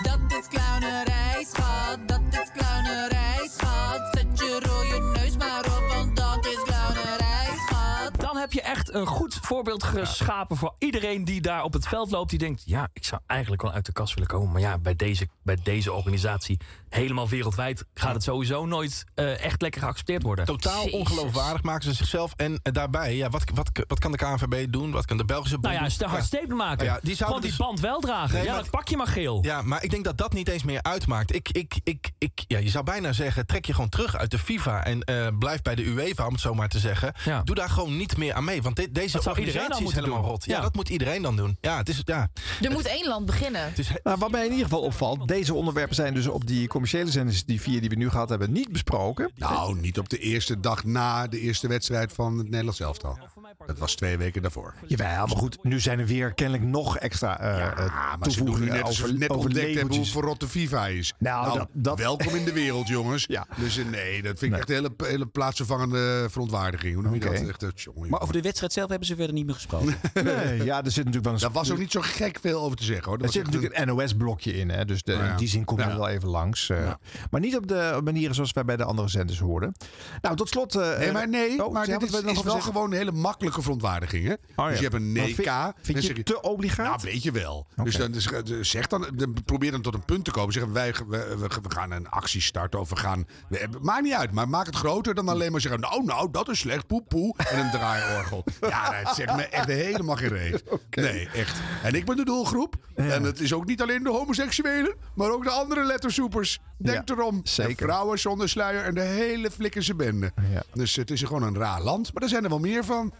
Dat is clownerij, schat. Dat is clownerij, schat. Zet je rode neus maar op, want dat is clownerij, schat. Dan heb je echt een goed voorbeeld geschapen voor iedereen die daar op het veld loopt. Die denkt, ja, ik zou eigenlijk wel uit de kast willen komen. Maar ja, bij deze, bij deze organisatie, helemaal wereldwijd, gaat het sowieso nooit eh, echt lekker geaccepteerd worden. Totaal ongeloofwaardig maken ze zichzelf. En eh, daarbij, ja, wat, wat, wat kan de KNVB doen? Wat kan de Belgische bond Nou ja, doen? is de hardstatement maken. Nou ja, die zouden Gewoon die dus- band wel dragen. Nee, ja, maar- dat pak je maar geel. Ja, maar ik denk dat dat niet eens meer uitmaakt. Ik, ik, ik, ik, ja, je zou bijna zeggen, trek je gewoon terug uit de FIFA... en eh, blijf bij de UEFA, om het zo maar te zeggen. Doe daar gewoon niet meer aan mee. Want dit- deze Dat zou iedereen dan organisatie is moeten helemaal doen. rot. Ja, Ja. dat moet iedereen dan doen. Ja, het is... Ja. Er moet één land beginnen. Maar Nou, wat mij in ieder geval opvalt, deze onderwerpen zijn dus op die commerciële zenders, die vier die we nu gehad hebben, niet besproken. Nou, niet op de eerste dag na de eerste wedstrijd van het Nederlands elftal. Dat was twee weken daarvoor. Jawel, maar goed, nu zijn er weer kennelijk nog extra eh Ah, ja, maar ze doen nu net, alsof over, ze net over ontdekt hebben hoe labeltjes. verrot de FIFA is. Nou, dat- dat- welkom in de wereld, jongens. Dus eh, nee, dat vind ik echt een hele, hele plaatsvervangende verontwaardiging. Hoe noem je dat? Oké. Echt, eh, tjonge, Maar over de wedstrijd zelf hebben ze verder niet meer gesproken. Nee, ja, er zit natuurlijk wel een... Daar was ook niet zo gek veel over te zeggen. Hoor. Er Dat zit was echt natuurlijk een NOS-blokje in, hè? dus de, Nou ja. in die zin komt Ja. het wel even langs. eh. Maar niet op de manieren zoals wij bij de andere zenders hoorden. Nou, tot slot... eh, Nee, maar nee, oh, maar ja, dit wat is, we is wel nog over zeggen? gewoon een hele makkelijke verontwaardiging. Hè? Dus je hebt een Oh, Maar nee-k. vind- vind je te obligaat? Nou, weet je wel. Dus dan, dus, eh, zeg dan, dan probeer dan tot een punt te komen. Zeggen wij, we, we- we gaan een actie starten of we gaan... we- maakt niet uit, maar maak het groter dan alleen maar zeggen... nou, nou, dat is slecht, poep, poe. En een draaiorgel. ja, nee, het zegt me echt helemaal geen reet. Nee, echt. En ik ben de doelgroep. En het is ook niet alleen de homoseksuelen... maar ook de andere lettersoepers. Denk erom. zeker. De vrouwen zonder sluier en de hele flikkerse bende. Dus het is gewoon een raar land. Maar er zijn er wel meer van.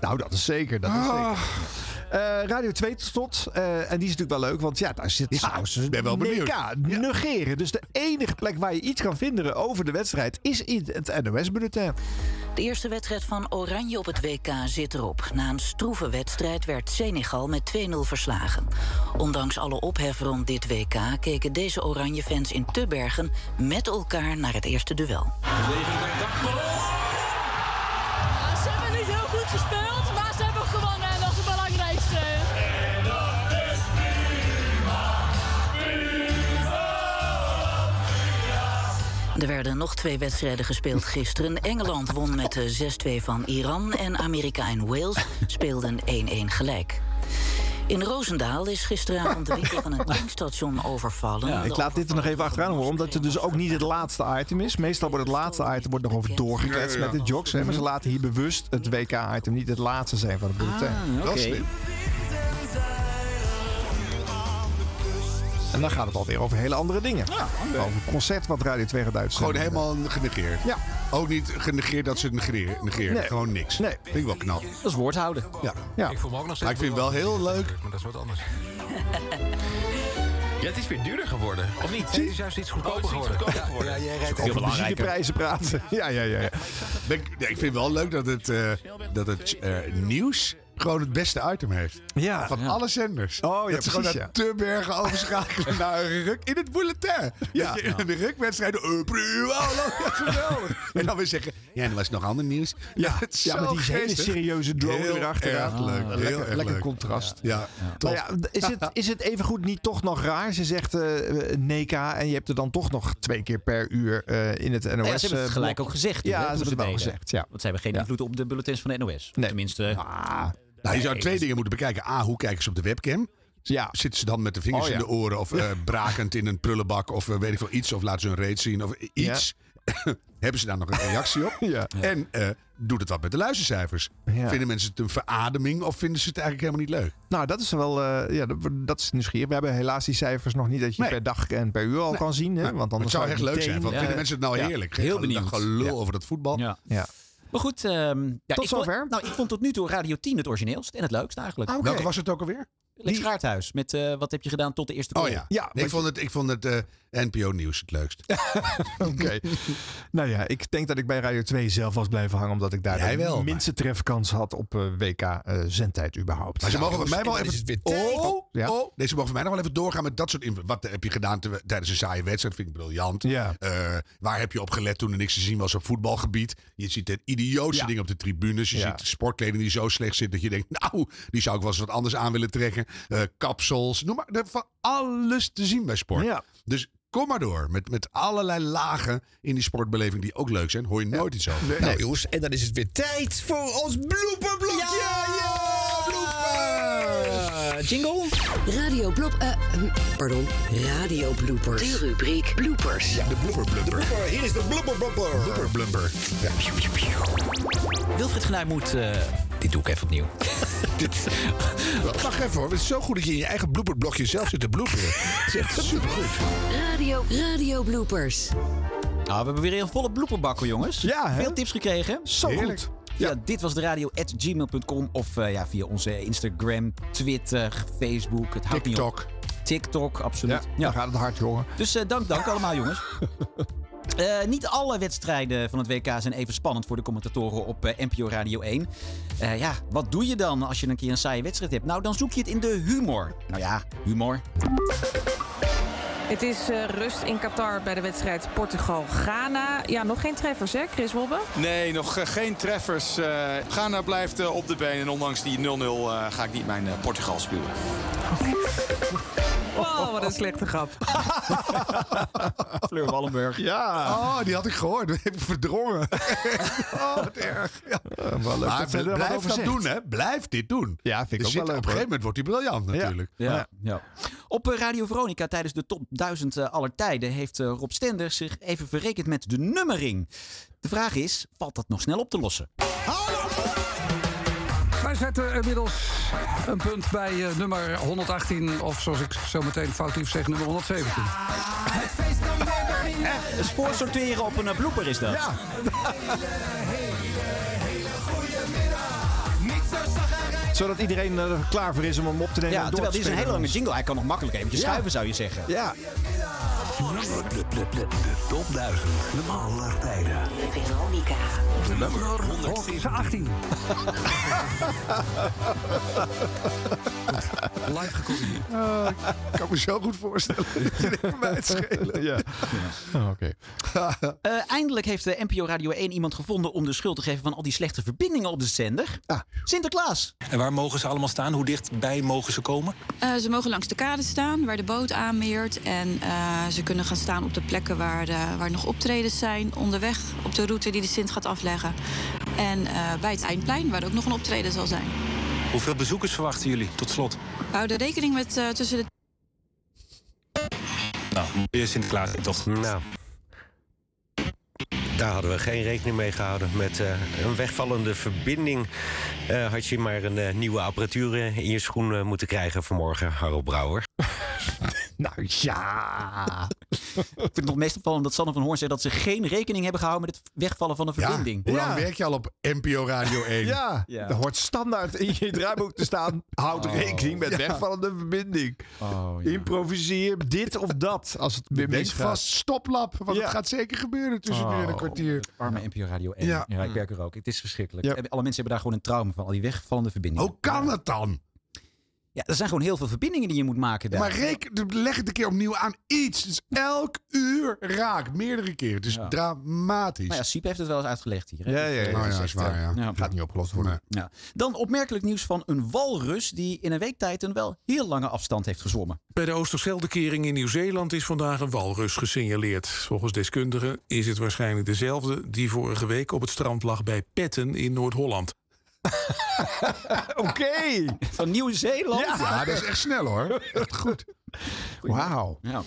Nou, dat is zeker. Dat is Ah. zeker. Eh, Radio 2 tot slot. Eh, en die is natuurlijk wel leuk, want ja, daar zit trouwens een ben wel benieuwd. NK, negeren. Dus de enige plek waar je iets kan vinden over de wedstrijd is in het NOS-bulletin. De eerste wedstrijd van Oranje op het WK zit erop. Na een stroeve wedstrijd werd Senegal met 2-0 verslagen. Ondanks alle ophef rond dit WK keken deze Oranje-fans in Tubbergen met elkaar naar het eerste duel. Ze hebben niet heel goed gespeeld, maar ze hebben gewonnen en dat is het belangrijkste. En dat is prima. Er werden nog twee wedstrijden gespeeld gisteren. Engeland won met de 6-2 van Iran en Amerika en Wales speelden 1-1 gelijk. In Roosendaal is gisteravond de winkel van een tankstation overvallen. ik laat dit er nog even achteraan horen, omdat het dus ook niet het laatste item is. Meestal wordt het laatste item wordt nog over doorgekletst Ja, ja, ja. met de jocks. Hè, maar ze laten hier bewust het WK-item niet het laatste zijn van het bulletin. Ah, Dat is oké. slim. En dan gaat het alweer over hele andere dingen. Over het concert wat Radio 2 gaat uitzenden. Gewoon helemaal genegeerd. Ja. Ook niet genegeerd dat ze het negeren. negeren. Nee. Gewoon niks. Nee. Vind ik wel knap. Dat is woordhouden. Ja. ja. Ik voel me ook nog steeds Maar ik vind het wel heel leuk. Maar dat is wat anders. Ja, het is weer duurder geworden, of niet? Oh, Het is juist iets goedkoper geworden. Ja, jij rijdt Over prijzen praten. Ja, ja, ja. ja. Ben Ik, nee, ik vind het wel leuk dat het, eh, dat het eh, nieuws gewoon het beste item heeft. Ja. Van Ja. alle zenders. Oh, ja, dat ze gewoon precies, naar te bergen overschakelen naar een ruk in het bulletin. Ja. Dat je in de rukwedstrijd... eh, prima, ja, geweldig. en dan weer zeggen... Ja, en er was nog ander nieuws. Ja, het is ja, zo met die hele geestig. serieuze drone Heel erachteraan. erg leuk. Ah. Heel lekker erg lekker leuk. contrast. Ja, Maar tof. Nou ja, is het, is het evengoed niet toch nog raar? Ze zegt eh, eh, NECA en je hebt er dan toch nog twee keer per uur eh, in het NOS. Nou ja, ze hebben het eh, gelijk blok. ook gezegd. Ja, ze hebben het wel gezegd. Ja. Want ze hebben geen invloed op de bulletins van de NOS. Tenminste. Nou, je zou Nee, twee dus- dingen moeten bekijken. A, hoe kijken ze op de webcam? Zitten ze dan met de vingers Oh, ja. in de oren of eh, brakend in een prullenbak of eh, weet ik veel iets? Of laten ze een reet zien of iets? Hebben ze daar nog een reactie op? En eh, doet het wat met de luistercijfers? Ja. Vinden mensen het een verademing of vinden ze het eigenlijk helemaal niet leuk? Nou, dat is wel. eh, ja, dat, dat is nieuwsgierig. We hebben helaas die cijfers nog niet dat je per dag en per uur al kan zien. Hè? Want Het anders zou echt leuk meteen, zijn. Want eh, vinden mensen het nou ja. heerlijk? Geen gelul- gelul over dat voetbal. Ja. Ja. Maar goed, ehm, ja, Tot ik vond- zover. nou, ik vond tot nu toe Radio 10 het origineelst en het leukst eigenlijk. Ah, oké. Welke was het ook alweer? Lex Gaarthuis, met eh, wat heb je gedaan tot de eerste call. Oh ja. ik, vond het, ik vond het eh, NPO Nieuws het leukst. Oké. nou ja, ik denk dat ik bij Radio 2 zelf was blijven hangen. Omdat ik daar Jij de wel, maar- minste trefkans had op eh, WK eh, zendtijd überhaupt. Maar ze Ja, mogen van jongens, mij wel en dan even... is het weer oh, Ja. oh, nee, ze mogen van mij nog wel even doorgaan met dat soort... inv- Wat heb je gedaan te- tijdens een saaie wedstrijd? Vind ik briljant. Eh, waar heb je op gelet toen er niks te zien was op voetbalgebied? Je ziet een idiootse ding op de tribunes. Je ziet sportkleding die zo slecht zit dat je denkt... Nou, die zou ik wel eens wat anders aan willen trekken. Eh, kapsels, noem maar. Er van alles te zien bij sport. Dus... Kom maar door met, met allerlei lagen in die sportbeleving die ook leuk zijn. Hoor je nooit iets over. Nou jongens, en dan is het weer tijd voor ons bloeperblokje. Ja, jingle. Radio Blop. pardon. Radio bloopers. De rubriek bloopers. Ja, de blooper blubber. Hier is de blubber blubber. Blubber blubber. Wilfried Genuij moet... eh, dit doe ik even opnieuw. Wacht even hoor, het is zo goed dat je in je eigen blooperblokje zelf zit te bloeperen. Het is echt supergoed. Radio, radio bloopers. Nou, we hebben weer een volle bloepenbakker, jongens. Ja, Veel tips gekregen. Zo Heerlijk. goed. Ja. dit was de radio at gmail.com of eh, ja, via onze Instagram, Twitter, Facebook. Het houdt niet op. TikTok. TikTok, absoluut. Ja, gaat het hard, jongen. Dus eh, dank, dank allemaal, jongens. Eh, niet alle wedstrijden van het WK zijn even spannend voor de commentatoren op eh, NPO Radio 1. Eh, ja, wat doe je dan als je een keer een saaie wedstrijd hebt? Nou, dan zoek je het in de humor. Nou ja, humor. Het is eh, rust in Qatar bij de wedstrijd Portugal-Ghana. Ja, nog geen treffers, hè, Chris Wobbe? Nee, nog eh, geen treffers. Eh, Ghana blijft eh, op de been. En ondanks die 0-0 eh, ga ik niet mijn eh, Portugal spelen. Oh, wat een slechte grap. Fleur Wallenberg. Ja. Oh, die had ik gehoord. Dat heb ik verdrongen. oh, wat erg. Ja. maar Eh, dat ze er wat blijf over dat zegt. doen, hè. Blijf dit doen. Ja, vind ik Er ook zit- wel leuk, Op een hoor. gegeven moment wordt hij briljant natuurlijk. Ja. Ja. Op eh, Radio Veronica tijdens de top 1000 eh, aller tijden heeft eh, Rob Stender zich even verrekend met de nummering. De vraag is, valt dat nog snel op te lossen? Wij zetten inmiddels een punt bij eh, nummer 118, of zoals ik zo meteen foutief zeg, nummer 117. Eh, spoor sorteren op een eh, blooper is dat. Ja. Zodat iedereen er klaar voor is om hem op te nemen. Ja, en door terwijl te dit is een hele spelen. lange jingle. Hij kan nog makkelijk eventjes Ja. schuiven, zou je zeggen. Ja. De top 1000 aller tijden. Veronica. De nummer 118. Live gekomen. Oh, ik kan me zo goed voorstellen. Mij het schelen. Ja. Oh, Oké. Eh, eindelijk heeft de NPO Radio 1 iemand gevonden om de schuld te geven van al die slechte verbindingen op de zender. Ah. Sinterklaas. En waar mogen ze allemaal staan? Hoe dichtbij mogen ze komen? Eh, ze mogen langs de kade staan waar de boot aanmeert. En eh, ze kunnen gaan staan op de plekken waar, de, waar nog optredens zijn. Onderweg op de route die de Sint gaat afleggen. En eh, bij het eindplein waar ook nog een optreden zal zijn. Hoeveel bezoekers verwachten jullie tot slot? We houden rekening met eh, tussen de Nou, weer Sinterklaas toch? Nou. Daar hadden we geen rekening mee gehouden. Met eh, een wegvallende verbinding eh, had je maar een eh, nieuwe apparatuur eh, in je schoen eh, moeten krijgen vanmorgen, Harold Brouwer. Nou ja. Ik vind het nog meest opvallend dat Sanne van Hoorn zei dat ze geen rekening hebben gehouden met het wegvallen van een verbinding. Hoe lang werk je al op NPO Radio 1? Ja, Ja. er hoort standaard in je draaiboek te staan. Houd Oh. rekening met Ja. Oh, wegvallende verbinding. Improviseer dit of dat als het weer Denk misgaat. vast stoplap, want Ja. het gaat zeker gebeuren tussen nu en een Oh, kwartier. Arme NPO Radio 1. Ja. Ja, ik werk er ook. Het is verschrikkelijk. Ja. Alle mensen hebben daar gewoon een trauma van, al die wegvallende verbindingen. Hoe kan het dan? Ja, er zijn gewoon heel veel verbindingen die je moet maken daar. Maar reken, leg het een keer opnieuw aan. Iets. Dus elk uur raak. Meerdere keren. Het is dramatisch. Maar ja, Siep heeft het wel eens uitgelegd hier. hè? Ja, ja, ja. Dat Oh ja, echt, is waar, eh, ja. Gaat niet opgelost worden. Ja. Dan opmerkelijk nieuws van een walrus die in een week tijd een wel heel lange afstand heeft gezwommen. Bij de Oosterscheldekering in Nieuw-Zeeland is vandaag een walrus gesignaleerd. Volgens deskundigen is het waarschijnlijk dezelfde die vorige week op het strand lag bij Petten in Noord-Holland. Oké. Van Nieuw-Zeeland? Ja. dat is echt snel hoor. Echt goed. Wauw. Ja.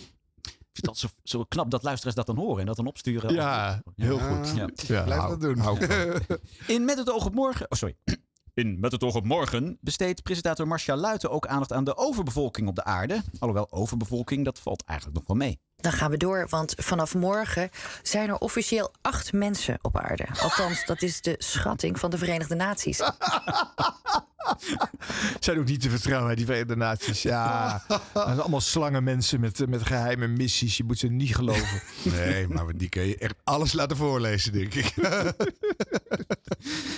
Ik vind dat zo, zo knap dat luisteraars dat dan horen en dat dan opsturen. Ja, heel goed. Ja. Blijf dat doen. In Met het oog op morgen... Oh, sorry. In Met het oog op morgen besteedt presentator Marcia Luiten ook aandacht aan de overbevolking op de aarde. Alhoewel overbevolking, dat valt eigenlijk nog wel mee. Dan gaan we door, want vanaf morgen zijn er officieel acht mensen op aarde. Althans, dat is de schatting van de Verenigde Naties. Zijn ook niet te vertrouwen, hè, die Verenigde Naties. Ja, dat zijn allemaal slangenmensen met, eh, met geheime missies. Je moet ze niet geloven. Nee, maar die kun je echt alles laten voorlezen, denk ik.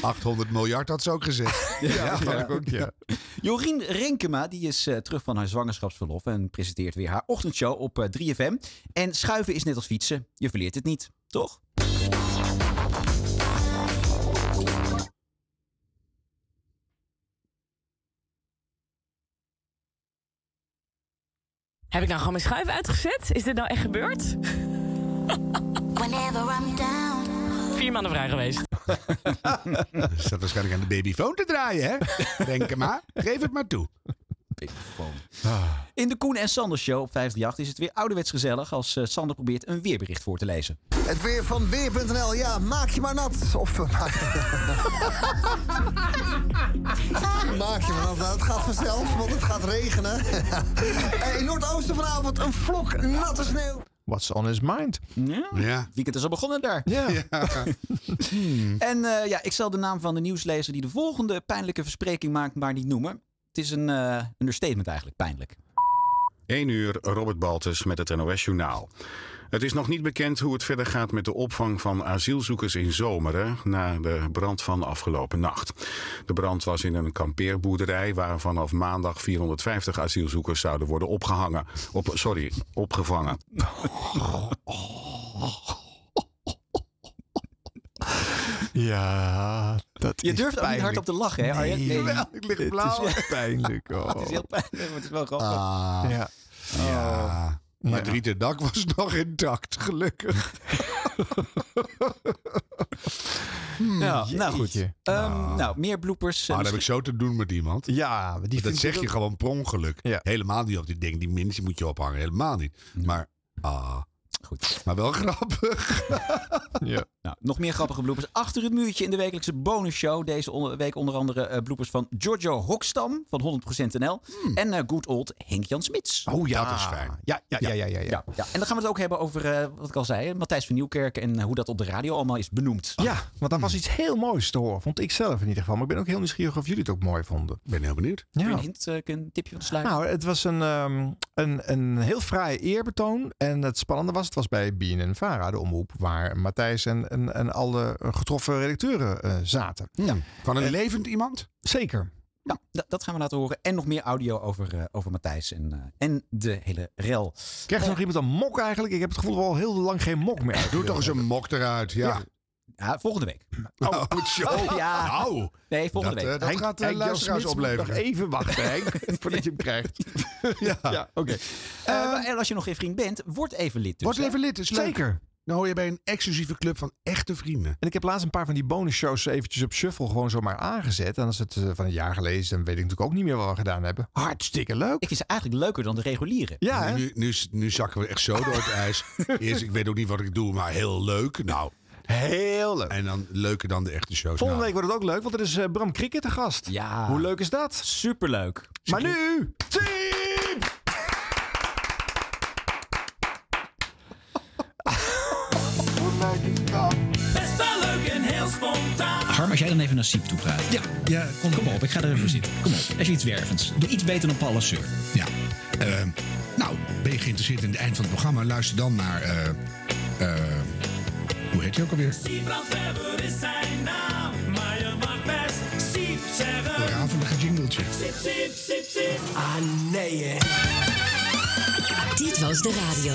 800 miljard had ze ook gezegd. waarschijnlijk ook, ja. Jorien Renkema die is eh, terug van haar zwangerschapsverlof en presenteert weer haar ochtendshow op eh, 3FM. En schuiven is net als fietsen. Je verleert het niet, toch? Heb ik nou gewoon mijn schuif uitgezet? Is dit nou echt gebeurd? Vier maanden vrij geweest. Staat waarschijnlijk aan de babyfoon te draaien, hè? Denk hem maar. Geef het maar toe. Ah. In de Koen en Sander Show op 538 is het weer ouderwets gezellig als eh, Sander probeert een weerbericht voor te lezen. Het weer van weer.nl. Ja, maak je maar nat. Of eh, maak, maak je maar nat. Nou, Het gaat vanzelf, want het gaat regenen. Eh, In Noordoosten vanavond een vlok natte sneeuw. What's on his mind? Ja. Het weekend is al begonnen daar. Ja. Hmm. En eh, ja, ik zal de naam van de nieuwslezer die de volgende pijnlijke verspreking maakt, maar niet noemen. Het is een eh, understatement eigenlijk, pijnlijk. 1 uur, Robert Baltus met het NOS-journaal. Het is nog niet bekend hoe het verder gaat met de opvang van asielzoekers in Zomeren na de brand van afgelopen nacht. De brand was in een kampeerboerderij waar vanaf maandag 450 asielzoekers zouden worden opgehangen. Op, sorry, opgevangen. Ja, dat Je durft ook niet hard op te lachen, hè, Arjen? Nee. Jawel, ik lig Het blauw. is- Het is pijnlijk. Oh. Het is heel pijnlijk, maar het is wel grappig. Ah. Ja. Ja. Ah, Maar het rieten dak was nog intact, gelukkig. Ja, nou goed. Hmm, Jeetje. Ehm, nou, meer bloepers. Maar dan heb ik zo te doen met iemand. Ja, die dat vindt zeg het je ook- gewoon per ongeluk. Helemaal niet op. Ik denk, die mensen moet je ophangen. Helemaal niet. Maar, ah. Goed. Maar wel grappig. Nou, nog meer grappige bloepers. Achter het muurtje in de wekelijkse bonusshow. Deze on- week onder andere eh, bloepers van Giorgio Hokstam van 100% NL. En eh, good old Henk-Jan Smits. Hmm. Ah. Oh ja. Dat is fijn. Ja, ja, ja, ja, ja, ja. Ja, en dan gaan we het ook hebben over, eh, wat ik al zei, hè, Matthijs van Nieuwkerk en eh, hoe dat op de radio allemaal is benoemd. Ja, want dat Hmm. was iets heel moois te horen. Vond ik zelf in ieder geval. Maar ik ben ook heel nieuwsgierig of jullie het ook mooi vonden. Ik ben heel benieuwd. Kun Ja. je een hint, eh, kun je een tipje van de sluier? Nou, eh, het was een, ehm, een, een heel fraaie eerbetoon. En het spannende was, het was bij BNN Vara, de omroep, waar Matthijs en, en, en alle getroffen redacteuren eh, zaten. Eh, Van een levend iemand? Zeker. Nou, da- dat gaan we laten horen. En nog meer audio over, eh, over Matthijs en, eh, en de hele rel. Krijgt nog iemand een mok eigenlijk? Ik heb het gevoel dat we al heel lang geen mok meer Doe toch eens een mok eruit, ja. Ja, volgende week. Oh, zo. Oh, ja. Nou. Nee, volgende Dat, week. eh, dat gaat, eh, Henk Jan luisteraars Smits moet opleveren. Nog even wachten, Henk, voordat je hem krijgt. Ja, oké. Ehm. Eh, en als je nog geen vriend bent, word even lid. dus, Word hè? even lid, is leuk. eh, Zeker. Dan hoor je bij een exclusieve club van echte vrienden. En ik heb laatst een paar van die bonusshows eventjes op shuffle gewoon zomaar aangezet. En als het eh, van een jaar geleden is, dan weet ik natuurlijk ook niet meer wat we gedaan hebben. Hartstikke leuk. Ik vind ze eigenlijk leuker dan de reguliere. Ja, hè? nu, nu, nu zakken we echt zo door het ijs. Eerst, ik weet ook niet wat ik doe, maar heel leuk. Nou. Heel leuk. En dan leuker dan de echte shows. Nou. Volgende week wordt het ook leuk, want er is eh, Bram Krikke te gast. Ja. Hoe leuk is dat? Superleuk. Maar nu... Team! Best wel leuk en heel spontaan. Harm, als jij dan even naar Siep toe praat. Ja, ja kom, op. Ik ga er even voor zitten. Kom op. Even iets wervends. Doe iets beter dan Paul Lasseur. Ja. Eh, Ehm, nou, ben je geïnteresseerd in het eind van het programma? Luister dan naar. eh, eh, hoe heet je ook alweer? Siebrand Weber is zijn naam, maar je mag best Siep zeggen. Ravelige jingletje. Siep, siep, siep, siep. Ah, nee, Dit was de radio.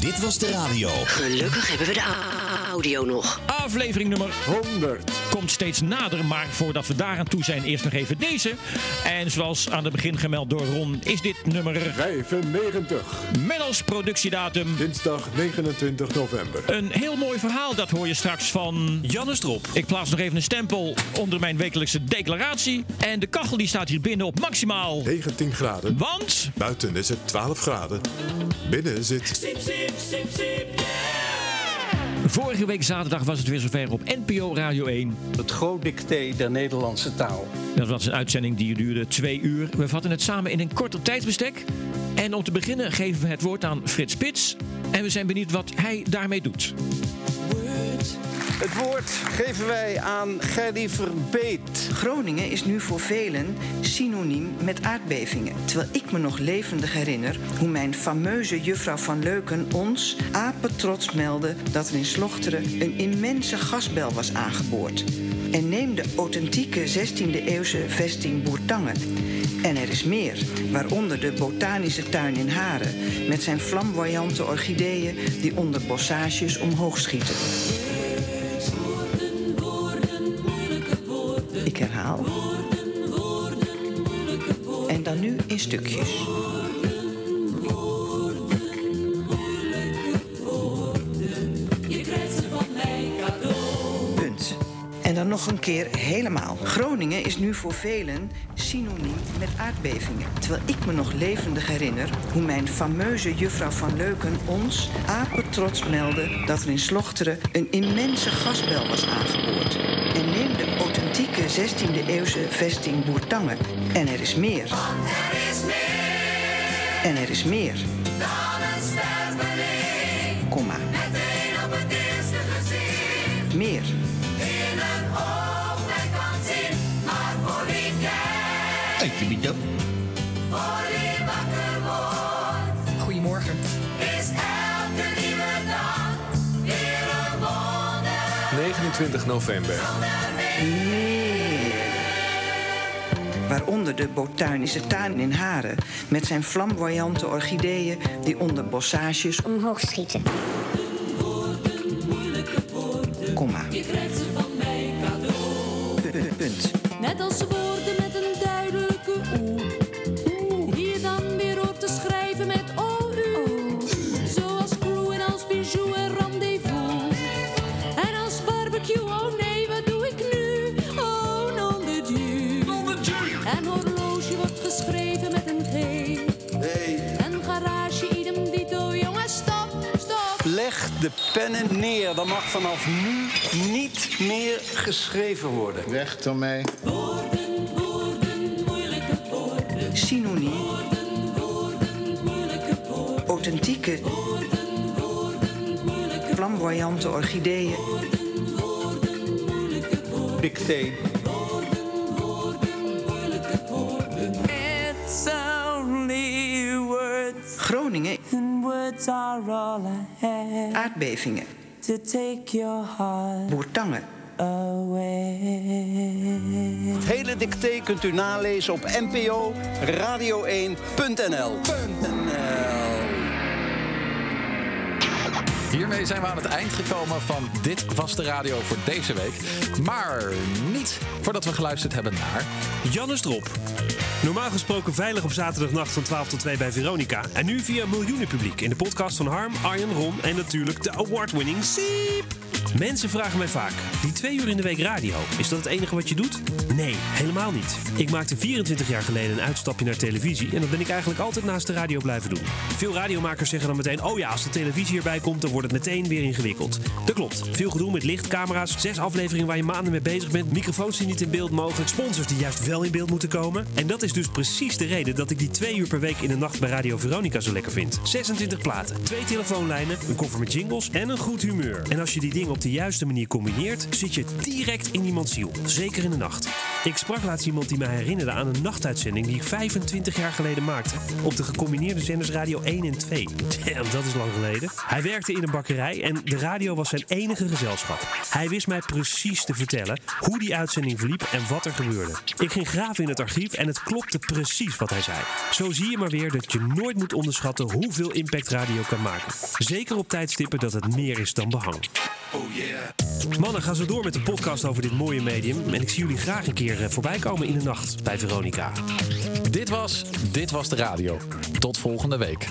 Dit was de radio. Gelukkig hebben we de a- audio nog. Aflevering nummer 100 komt steeds nader, maar voordat we daar aan toe zijn, eerst nog even deze. En zoals aan het begin gemeld door Ron, is dit nummer 95. Met als productiedatum dinsdag 29 november. Een heel mooi verhaal, dat hoor je straks van Jannes Drop. Ik plaats nog even een stempel onder mijn wekelijkse declaratie. En de kachel die staat hier binnen op maximaal 19 graden. Want buiten is het 12 graden. Binnen zit Siep, siep, siep, siep. Vorige week zaterdag was het weer zover op NPO Radio 1. Het groot dicté der Nederlandse taal. Dat was een uitzending die duurde twee uur. We vatten het samen in een korter tijdsbestek. En om te beginnen geven we het woord aan Frits Spits. En we zijn benieuwd wat hij daarmee doet. Het woord geven wij aan Gerdy Verbeet. Groningen is nu voor velen synoniem met aardbevingen. Terwijl ik me nog levendig herinner hoe mijn fameuze juffrouw van Leuken ons apetrots meldde dat er in Slochteren een immense gasbel was aangeboord. En neem de authentieke 16e-eeuwse vesting Boertangen. En er is meer, waaronder de botanische tuin in Haren... met zijn flamboyante orchideeën die onder bossages omhoog schieten. Ik herhaal. En dan nu in stukjes. Je krijgt ze van mij cadeau. Punt. En dan nog een keer helemaal. Groningen is nu voor velen synoniem met aardbevingen. Terwijl ik me nog levendig herinner hoe mijn fameuze juffrouw van Leuken ons apetrots meldde dat er in Slochteren een immense gasbel was aangeboord. En neem de authentieke 16e-eeuwse vesting Boertangen. En er is meer. Er is meer En er is meer. dan een sterveling. Komma. Meteen op het eerste gezicht. Meer. In een oog men kan zien. Maar voor wie kijkt, voor wie wakker wordt. Goedemorgen. Is elke nieuwe dag weer een wonder. 29 november. Waaronder de botanische tuin in Haren. Met zijn flamboyante orchideeën die onder bossages omhoog schieten. Komma. Je krijgt ze van mij cadeau. Punt. punt. Net als woorden met een duidelijke oe. Hier dan weer door te schrijven met OU. Zoals crew en als bijou en rendezvous. En als barbecue, oh nee, wat doe ik nu? Oh, non de Dieu. En horloge wordt geschreven met een T. En garage, idem dito, jongen, stop, stop. Leg de pennen neer. Dan mag vanaf nu niet meer geschreven worden. Weg daarmee. Synoniem. Authentieke. Flamboyante orchideeën. Dicté. It's only words. Groningen. And words are all I have Aardbevingen. to take your heart Boertangen. away. Het hele dicté kunt u nalezen op npo radio1.nl. Hiermee zijn we aan het eind gekomen van Dit was de radio voor deze week. Maar niet voordat we geluisterd hebben naar... Jannes Drop. Normaal gesproken veilig op zaterdagnacht van 12 tot 2 bij Veronica. En nu via miljoenen publiek in de podcast van Harm, Arjen, Ron en natuurlijk de award-winning Siep. Mensen vragen mij vaak, die twee uur in de week radio, is dat het enige wat je doet? Nee, helemaal niet. Ik maakte 24 jaar geleden een uitstapje naar televisie en dat ben ik eigenlijk altijd naast de radio blijven doen. Veel radiomakers zeggen dan meteen, oh ja, als de televisie erbij komt, dan wordt het meteen weer ingewikkeld. Dat klopt. Veel gedoe met licht, camera's, zes afleveringen waar je maanden mee bezig bent, microfoons die niet in beeld mogen, sponsors die juist wel in beeld moeten komen. En dat is dus precies de reden dat ik die twee uur per week in de nacht bij Radio Veronica zo lekker vind. 26 platen, twee telefoonlijnen, een koffer met jingles en een goed humeur. En als je die dingen op de juiste manier combineert, zit je direct in iemands ziel. Zeker in de nacht. Ik sprak laatst iemand die mij herinnerde aan een nachtuitzending die ik 25 jaar geleden maakte. Op de gecombineerde zenders Radio 1 en 2. Damn, dat is lang geleden. Hij werkte in een bakkerij en de radio was zijn enige gezelschap. Hij wist mij precies te vertellen hoe die uitzending verliep en wat er gebeurde. Ik ging graven in het archief en het klopte precies wat hij zei. Zo zie je maar weer dat je nooit moet onderschatten hoeveel impact radio kan maken. Zeker op tijdstippen dat het meer is dan behang. Mannen, gaan zo door met de podcast over dit mooie medium. En ik zie jullie graag een keer eh, voorbij komen in de nacht bij Veronica. Dit was Dit was de radio. Tot volgende week.